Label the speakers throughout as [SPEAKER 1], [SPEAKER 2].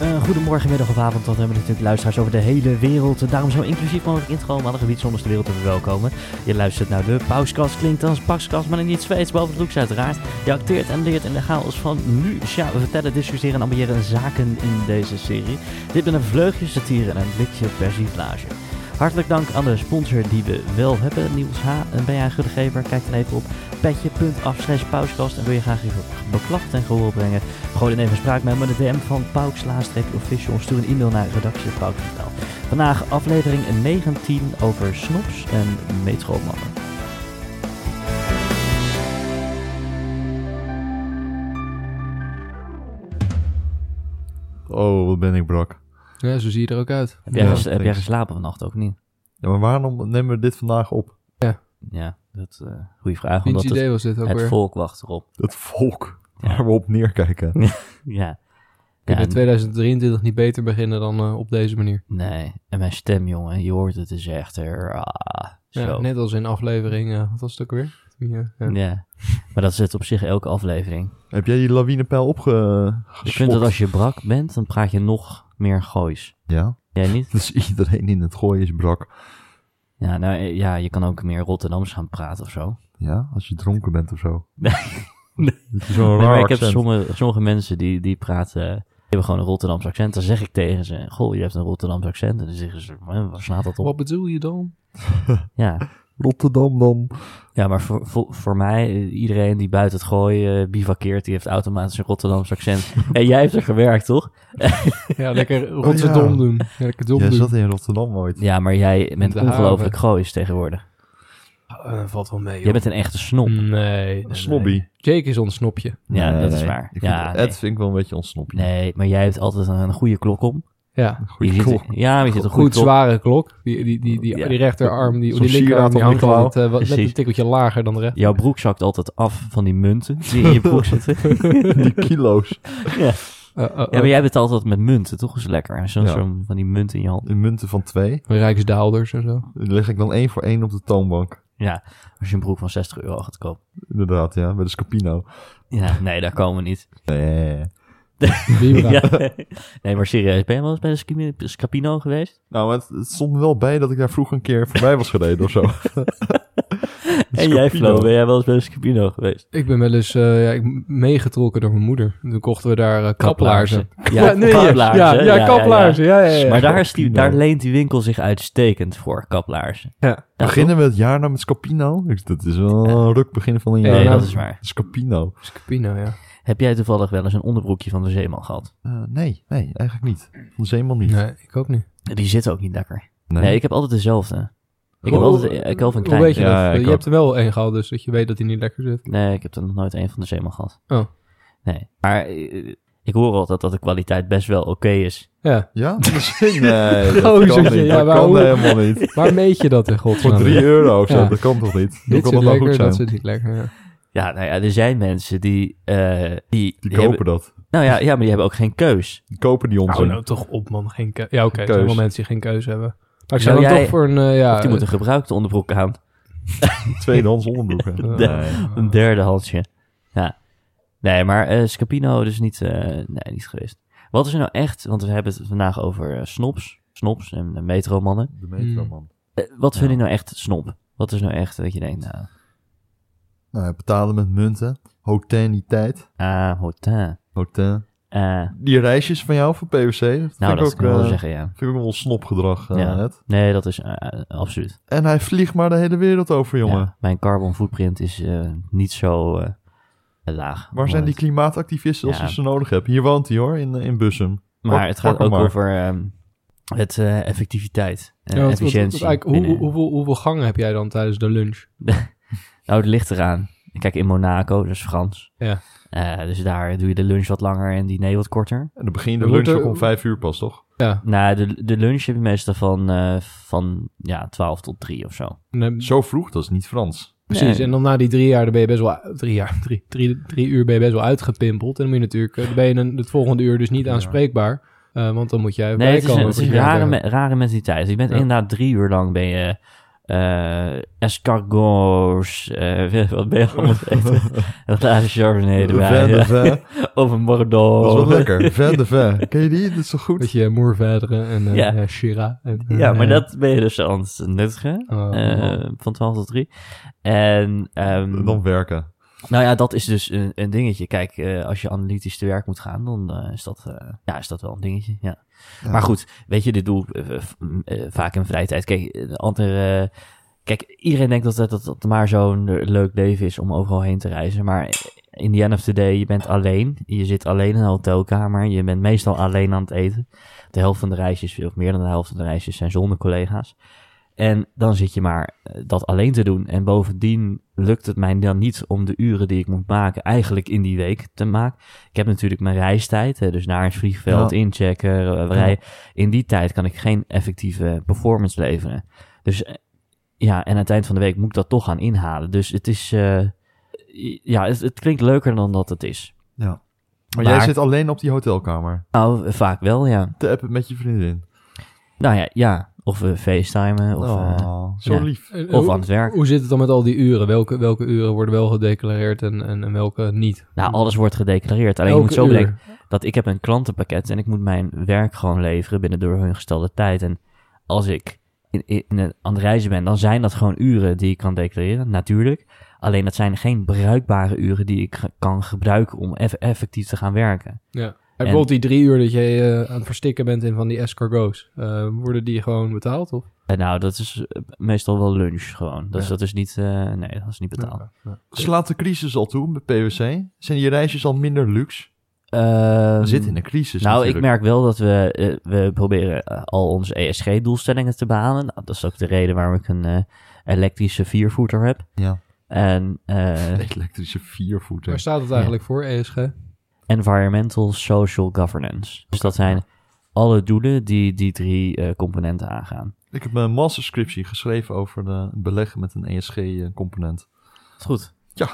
[SPEAKER 1] Eh, goedemorgen, middag of avond, want we hebben natuurlijk luisteraars over de hele wereld. Daarom zo inclusief mogelijk intro om alle gebieden zonder de wereld te verwelkomen. Je luistert naar de pauskast, klinkt als paskast, maar in niet Zweeds, boven het doeks uiteraard. Je acteert en leert in de chaos van nu. Sja, we vertellen, discussiëren en ambiëren zaken in deze serie. Dit met een vleugje satire en een blikje persiflage. Hartelijk dank aan de sponsor die we wel hebben, Niels H. En ben jij een goede gever? Kijk dan even op petje.af slash pauskast. En wil je graag even beklacht en gehoor brengen? Gooi dan even spraak met me de DM van Pauks-official. Stuur een e-mail naar redactie.pauks.nl. Vandaag aflevering 19 over snops en metromannen.
[SPEAKER 2] Oh, wat ben ik brak.
[SPEAKER 3] Ja, zo zie je er ook uit.
[SPEAKER 1] Heb jij,
[SPEAKER 2] Ja,
[SPEAKER 1] ges- heb jij
[SPEAKER 2] thanks.
[SPEAKER 1] geslapen vannacht ook niet?
[SPEAKER 2] Ja, maar waarom nemen we dit vandaag op?
[SPEAKER 1] Ja, dat eh goede vraag.
[SPEAKER 3] Wiens
[SPEAKER 1] Omdat het,
[SPEAKER 3] idee was dit ook
[SPEAKER 1] het
[SPEAKER 3] weer?
[SPEAKER 1] volk wacht erop.
[SPEAKER 2] Het volk
[SPEAKER 1] Ja.
[SPEAKER 2] waar we op neerkijken.
[SPEAKER 1] Ja.
[SPEAKER 3] Kun je
[SPEAKER 1] Ja,
[SPEAKER 3] in 2023 niet beter beginnen dan eh, op deze manier.
[SPEAKER 1] nee. En mijn stem, jongen, je hoort het is echt er. Ah, zo.
[SPEAKER 3] Ja, net als in aflevering, eh, wat was het ook weer? Ja, ja.
[SPEAKER 1] Ja. Maar dat zit op zich elke aflevering.
[SPEAKER 2] Heb jij die lawinepeil opge...
[SPEAKER 1] Ik vind dat als je brak bent, dan praat je nog meer goois.
[SPEAKER 2] Ja,
[SPEAKER 1] Jij niet?
[SPEAKER 2] dus iedereen in het gooien is brak.
[SPEAKER 1] Ja, nou eh, ja, je kan ook meer Rotterdams gaan praten of zo.
[SPEAKER 2] Ja, als je dronken bent of zo.
[SPEAKER 1] Nee.
[SPEAKER 2] Dat is zo'n
[SPEAKER 1] Nee, maar
[SPEAKER 2] raar
[SPEAKER 1] ik heb
[SPEAKER 2] accent.
[SPEAKER 1] sommige, sommige mensen die, die praten, eh, die hebben gewoon een Rotterdams accent. Dan zeg ik tegen ze, goh, je hebt een Rotterdams accent. En dan zeggen ze, "Eh, waar slaat dat op?
[SPEAKER 3] Wat bedoel je dan?
[SPEAKER 1] Ja.
[SPEAKER 2] Rotterdam dan.
[SPEAKER 1] ja, maar voor, voor, voor mij, eh, iedereen die buiten het gooien eh, bivakkeert, die heeft automatisch een Rotterdams accent. en jij hebt er gewerkt, toch?
[SPEAKER 3] Ja, lekker
[SPEAKER 1] oh,
[SPEAKER 3] Rotterdam
[SPEAKER 2] ja.
[SPEAKER 3] doen. Ja, lekker dom
[SPEAKER 2] Jij
[SPEAKER 3] doen.
[SPEAKER 2] zat in Rotterdam ooit.
[SPEAKER 1] Ja, maar jij bent
[SPEAKER 3] De
[SPEAKER 1] ongelooflijk
[SPEAKER 3] haven.
[SPEAKER 1] goois tegenwoordig.
[SPEAKER 3] Ah, dat valt wel mee,
[SPEAKER 1] Jij bent een echte snop.
[SPEAKER 3] joh. Mm, Nee.
[SPEAKER 2] Een Snobby.
[SPEAKER 3] Jake is ons snopje.
[SPEAKER 1] Ja,
[SPEAKER 2] Nee,
[SPEAKER 1] dat is
[SPEAKER 2] nee.
[SPEAKER 1] waar.
[SPEAKER 2] Ik
[SPEAKER 1] Ja,
[SPEAKER 2] vind,
[SPEAKER 1] nee.
[SPEAKER 2] Ed vind ik wel een beetje ons snoppie.
[SPEAKER 1] Nee, maar jij hebt altijd een, goede klok om.
[SPEAKER 3] Ja.
[SPEAKER 1] Je
[SPEAKER 2] Goeie
[SPEAKER 1] zit-
[SPEAKER 2] klok.
[SPEAKER 1] ja, maar je zit een
[SPEAKER 3] Goed,
[SPEAKER 1] goede klok.
[SPEAKER 3] zware klok. Die, die, die, die,
[SPEAKER 1] Ja.
[SPEAKER 3] die rechterarm, die,
[SPEAKER 2] Zo'n
[SPEAKER 3] die
[SPEAKER 2] sieraad
[SPEAKER 3] linkerarm, die
[SPEAKER 2] om je
[SPEAKER 3] hangt
[SPEAKER 2] klauw.
[SPEAKER 3] altijd eh, wat- net
[SPEAKER 1] Precies.
[SPEAKER 3] een tikkeltje lager dan de rechter.
[SPEAKER 1] Jouw broek zakt altijd af van die munten die in je broek zitten.
[SPEAKER 2] Die kilo's.
[SPEAKER 3] Eh, eh,
[SPEAKER 1] Ja, maar jij bent altijd met munten, toch? is lekker. Zo'n
[SPEAKER 2] Ja.
[SPEAKER 1] zo'n van die munt in je hand.
[SPEAKER 2] In munten van twee.
[SPEAKER 3] eh, Rijksdaalders en zo.
[SPEAKER 2] Die leg ik dan één voor één op de toonbank.
[SPEAKER 1] Ja, als je een broek van 60 euro gaat kopen.
[SPEAKER 2] Inderdaad, ja. Bij de Scapino.
[SPEAKER 1] Ja, nee, daar komen we niet.
[SPEAKER 2] Nee.
[SPEAKER 3] Vibra.
[SPEAKER 1] Ja. Nee, maar serieus, ben je wel eens bij de Scami- Scapino geweest?
[SPEAKER 2] Nou, het, het stond me wel bij dat ik daar vroeg een keer voorbij was gereden of zo.
[SPEAKER 1] En jij,
[SPEAKER 2] Scapino.
[SPEAKER 1] Flo, ben jij wel eens bij de Scapino geweest?
[SPEAKER 3] Ik ben wel eens eh, ja, ik- meegetrokken door mijn moeder. Toen kochten we daar eh, kaplaarzen.
[SPEAKER 1] Ja,
[SPEAKER 3] nee,
[SPEAKER 1] kaplaarzen.
[SPEAKER 3] Ja, ja,
[SPEAKER 1] Ja, ja,
[SPEAKER 3] kaplaarzen. Ja, ja, ja.
[SPEAKER 1] Maar daar, is die,
[SPEAKER 2] Scapino.
[SPEAKER 1] daar leent die winkel zich uitstekend voor, kaplaarzen.
[SPEAKER 3] Ja.
[SPEAKER 1] Ja,
[SPEAKER 2] beginnen we het jaar nou met Scapino? Ik- Dat is wel een ruk beginnen van een
[SPEAKER 3] Nee,
[SPEAKER 2] jaar.
[SPEAKER 1] Nee,
[SPEAKER 3] nou,
[SPEAKER 1] dat is waar.
[SPEAKER 2] Scapino.
[SPEAKER 3] Scapino, ja.
[SPEAKER 1] Heb jij toevallig wel eens een onderbroekje van de zeeman gehad?
[SPEAKER 2] Eh, nee, nee, eigenlijk niet. Van Zeeman niet.
[SPEAKER 3] Nee, ik ook niet.
[SPEAKER 1] Die zit ook niet lekker. Nee, ik heb altijd dezelfde. Ik heb
[SPEAKER 2] Oh,
[SPEAKER 1] altijd eh, ik heb een
[SPEAKER 3] Hoe weet
[SPEAKER 1] klein.
[SPEAKER 3] je
[SPEAKER 2] Ja, ja,
[SPEAKER 3] dat?
[SPEAKER 2] ik
[SPEAKER 3] je
[SPEAKER 2] ook.
[SPEAKER 3] hebt er wel één gehad, dus dat je weet dat hij niet lekker zit.
[SPEAKER 1] Nee, ik heb er nog nooit een van de zeeman gehad.
[SPEAKER 3] Oh.
[SPEAKER 1] Nee. Maar eh, ik hoor altijd dat de kwaliteit best wel oké is.
[SPEAKER 3] Ja,
[SPEAKER 2] Ja? Nee, dat
[SPEAKER 1] Oh,
[SPEAKER 2] kan
[SPEAKER 3] Gozer,
[SPEAKER 2] niet.
[SPEAKER 3] ja,
[SPEAKER 2] dat
[SPEAKER 3] waarom?
[SPEAKER 2] kan helemaal niet.
[SPEAKER 3] waar meet je dat in
[SPEAKER 2] Voor
[SPEAKER 3] godsnaam?
[SPEAKER 2] 3 euro of zo,
[SPEAKER 3] Ja.
[SPEAKER 2] dat kan toch niet? Hoe
[SPEAKER 3] Dit
[SPEAKER 2] kan
[SPEAKER 3] zit
[SPEAKER 2] dat nou
[SPEAKER 3] lekker,
[SPEAKER 2] goed zijn?
[SPEAKER 3] dat zit niet lekker. Ja.
[SPEAKER 1] Ja, nou ja, er zijn mensen die... eh, die,
[SPEAKER 2] Die
[SPEAKER 1] hebben-
[SPEAKER 2] kopen dat.
[SPEAKER 1] nou ja, ja, maar die hebben ook geen keus.
[SPEAKER 2] Die kopen die onzin.
[SPEAKER 3] Hou nou toch op man, geen keuze. Ja oké, er zijn
[SPEAKER 2] Keus.
[SPEAKER 3] wel mensen die geen keuze hebben. Maar ik
[SPEAKER 1] Zou
[SPEAKER 3] zou dan
[SPEAKER 1] jij-
[SPEAKER 3] toch voor een, eh, ja...
[SPEAKER 2] Oh,
[SPEAKER 1] of die moeten een gebruikte onderbroek aan.
[SPEAKER 2] Tweedehands onderbroeken.
[SPEAKER 3] eh,
[SPEAKER 2] Nee.
[SPEAKER 3] eh,
[SPEAKER 1] Een derde handje. Ja. Nee, maar eh, Scapino dus niet, eh, nee, niet geweest. Wat is er nou echt... Want we hebben het vandaag over eh, snops. Snops en eh, metromannen.
[SPEAKER 2] De metroman.
[SPEAKER 1] Eh, wat vind
[SPEAKER 2] Ja.
[SPEAKER 1] je nou echt snop? Wat is nou echt dat je denkt, nou...
[SPEAKER 2] Nou, betalen met munten. Hoteliteit.
[SPEAKER 1] Ah, hotin.
[SPEAKER 2] Hotel.
[SPEAKER 1] Ah,
[SPEAKER 2] Die reisjes van jou voor PwC. Dat
[SPEAKER 1] nou,
[SPEAKER 2] vind
[SPEAKER 1] dat
[SPEAKER 2] ik ook,
[SPEAKER 1] kan ik wel
[SPEAKER 2] eh,
[SPEAKER 1] zeggen, ja.
[SPEAKER 2] Vind ik ook wel snopgedrag, eh,
[SPEAKER 1] Ja.
[SPEAKER 2] het.
[SPEAKER 1] Nee, dat is eh, absoluut.
[SPEAKER 2] En hij vliegt maar de hele wereld over, jongen.
[SPEAKER 1] Ja, mijn carbon footprint is eh, niet zo eh, laag.
[SPEAKER 2] Waar zijn die klimaatactivisten als
[SPEAKER 1] Ja.
[SPEAKER 2] je ze nodig hebt? Hier woont hij hoor, in, eh, in Bussum.
[SPEAKER 1] Maar
[SPEAKER 2] Pak-
[SPEAKER 1] het gaat
[SPEAKER 2] pak hem
[SPEAKER 1] ook
[SPEAKER 2] maar.
[SPEAKER 1] over ehm, het eh, effectiviteit en
[SPEAKER 3] ja, want- want-
[SPEAKER 1] eh, efficiëntie.
[SPEAKER 3] eigenlijk, hoe-
[SPEAKER 1] binnen-
[SPEAKER 3] hoe- hoeveel, hoeveel gangen heb jij dan tijdens de lunch?
[SPEAKER 1] Nou, het ligt eraan. Kijk, in Monaco, dat is Frans.
[SPEAKER 3] Ja.
[SPEAKER 1] Eh, dus daar doe je de lunch wat langer en diner wat korter.
[SPEAKER 2] En dan begin je de
[SPEAKER 3] We
[SPEAKER 2] lunch
[SPEAKER 3] moeten-
[SPEAKER 2] ook om vijf uur pas, toch?
[SPEAKER 3] Ja,
[SPEAKER 1] Nou, de, de lunch heb je meestal van, eh, van ja, 12 tot 3 of zo.
[SPEAKER 3] en dan-
[SPEAKER 2] Zo vroeg, dat is niet Frans.
[SPEAKER 3] precies.
[SPEAKER 1] Nee.
[SPEAKER 3] En dan na die drie jaar, dan ben je best wel... Drie jaar, drie, drie, drie uur ben je best wel uitgepimpeld. En dan moet je natuurlijk... eh, Dan ben je een- het volgende uur dus niet
[SPEAKER 2] Ja.
[SPEAKER 3] aanspreekbaar. eh, want dan moet jij
[SPEAKER 1] Nee, het is,
[SPEAKER 3] bijkomen
[SPEAKER 1] een, het
[SPEAKER 3] voor
[SPEAKER 1] is een
[SPEAKER 3] die
[SPEAKER 1] rare,
[SPEAKER 3] dagen.
[SPEAKER 1] me- rare mentaliteit. Dus Je bent
[SPEAKER 3] Ja.
[SPEAKER 1] inderdaad drie uur lang ben je eh, eh, escargots, eh, wat ben je allemaal aan het eten? Een glaasje chardonnay erbij. eh,
[SPEAKER 2] Vin de Vin.
[SPEAKER 1] Of een
[SPEAKER 2] Dat is
[SPEAKER 1] bordeaux.
[SPEAKER 2] wel lekker. Vin de Vin. Ken je die? Dat is toch goed?
[SPEAKER 3] Beetje Moervederen en eh
[SPEAKER 1] Ja.
[SPEAKER 3] ja. Shira. En,
[SPEAKER 1] Ja, maar
[SPEAKER 3] eh,
[SPEAKER 1] dat ben je dus aan het nuttigen.
[SPEAKER 3] oh,
[SPEAKER 1] eh, van 12 tot 3. En, ehm,
[SPEAKER 2] Dan werken.
[SPEAKER 1] nou ja, dat is dus een, een dingetje. Kijk, eh, als je analytisch te werk moet gaan, dan eh, is, dat, eh, ja, is dat wel een dingetje. Ja.
[SPEAKER 2] Ja.
[SPEAKER 1] Maar goed, weet je, dit doe ik, eh, v- m, eh, vaak in vrije tijd. Kijk, een andere. eh, Kijk, iedereen denkt dat dat, dat het maar zo'n eh, leuk leven is om overal heen te reizen. Maar in the end of the day, je bent alleen. Je zit alleen in een hotelkamer. Je bent meestal alleen aan het eten. De helft van de reisjes, of meer dan de helft van de reisjes, zijn zonder collega's. En dan zit je maar eh, dat alleen te doen. En bovendien lukt het mij dan niet om de uren die ik moet maken eigenlijk in die week te maken. Ik heb natuurlijk mijn reistijd, hè, dus naar het vliegveld,
[SPEAKER 2] Ja.
[SPEAKER 1] inchecken, eh, rijden. In die tijd kan ik geen effectieve performance leveren. Dus eh, ja, en aan het eind van de week moet ik dat toch gaan inhalen. Dus het is, eh, ja, het, het klinkt leuker dan dat het is.
[SPEAKER 2] Ja. Maar,
[SPEAKER 1] Maar-
[SPEAKER 2] jij zit alleen op die hotelkamer.
[SPEAKER 1] Nou, eh, vaak wel, ja.
[SPEAKER 2] Te appen met je vriendin.
[SPEAKER 1] Nou ja, ja. Of eh facetimen, of,
[SPEAKER 2] oh,
[SPEAKER 1] eh,
[SPEAKER 2] zo
[SPEAKER 1] ja.
[SPEAKER 2] lief.
[SPEAKER 3] En
[SPEAKER 1] of
[SPEAKER 3] hoe-
[SPEAKER 1] aan het werk.
[SPEAKER 3] Hoe zit het dan met al die uren? Welke, welke uren worden wel gedeclareerd en, en, en welke niet?
[SPEAKER 1] Nou, alles wordt gedeclareerd. Alleen je
[SPEAKER 3] Elke
[SPEAKER 1] moet zo
[SPEAKER 3] uur.
[SPEAKER 1] bedenken dat ik heb een klantenpakket en ik moet mijn werk gewoon leveren binnen door hun gestelde tijd. En als ik in, in, in- aan het reizen ben, dan zijn dat gewoon uren die ik kan declareren, natuurlijk. Alleen dat zijn geen bruikbare uren die ik ge- kan gebruiken om eff- effectief te gaan werken.
[SPEAKER 3] En bijvoorbeeld die drie uur dat jij eh, aan het verstikken bent in van die escargots. eh, worden die gewoon betaald of?
[SPEAKER 1] En nou, dat is eh, meestal wel lunch gewoon. Dus dat is niet, eh, nee, dat is niet betaald.
[SPEAKER 2] Slaat de crisis al toe met PwC? Zijn die reisjes al minder luxe?
[SPEAKER 1] Ehm,
[SPEAKER 2] We zitten in een crisis
[SPEAKER 1] nou,
[SPEAKER 2] natuurlijk.
[SPEAKER 1] ik merk wel dat we, eh, we proberen eh, al onze ESG-doelstellingen te behalen. Nou, dat is ook de reden waarom ik een eh, elektrische viervoeter heb.
[SPEAKER 2] Ja.
[SPEAKER 1] En eh,
[SPEAKER 2] Een elektrische viervoeter.
[SPEAKER 3] Waar staat het eigenlijk voor, E ESG?
[SPEAKER 1] environmental social governance. Dus dat zijn alle doelen die die drie eh, componenten aangaan.
[SPEAKER 2] Ik heb mijn masterscriptie geschreven over de beleggen met een E ESG-component.
[SPEAKER 1] Goed.
[SPEAKER 2] Ja.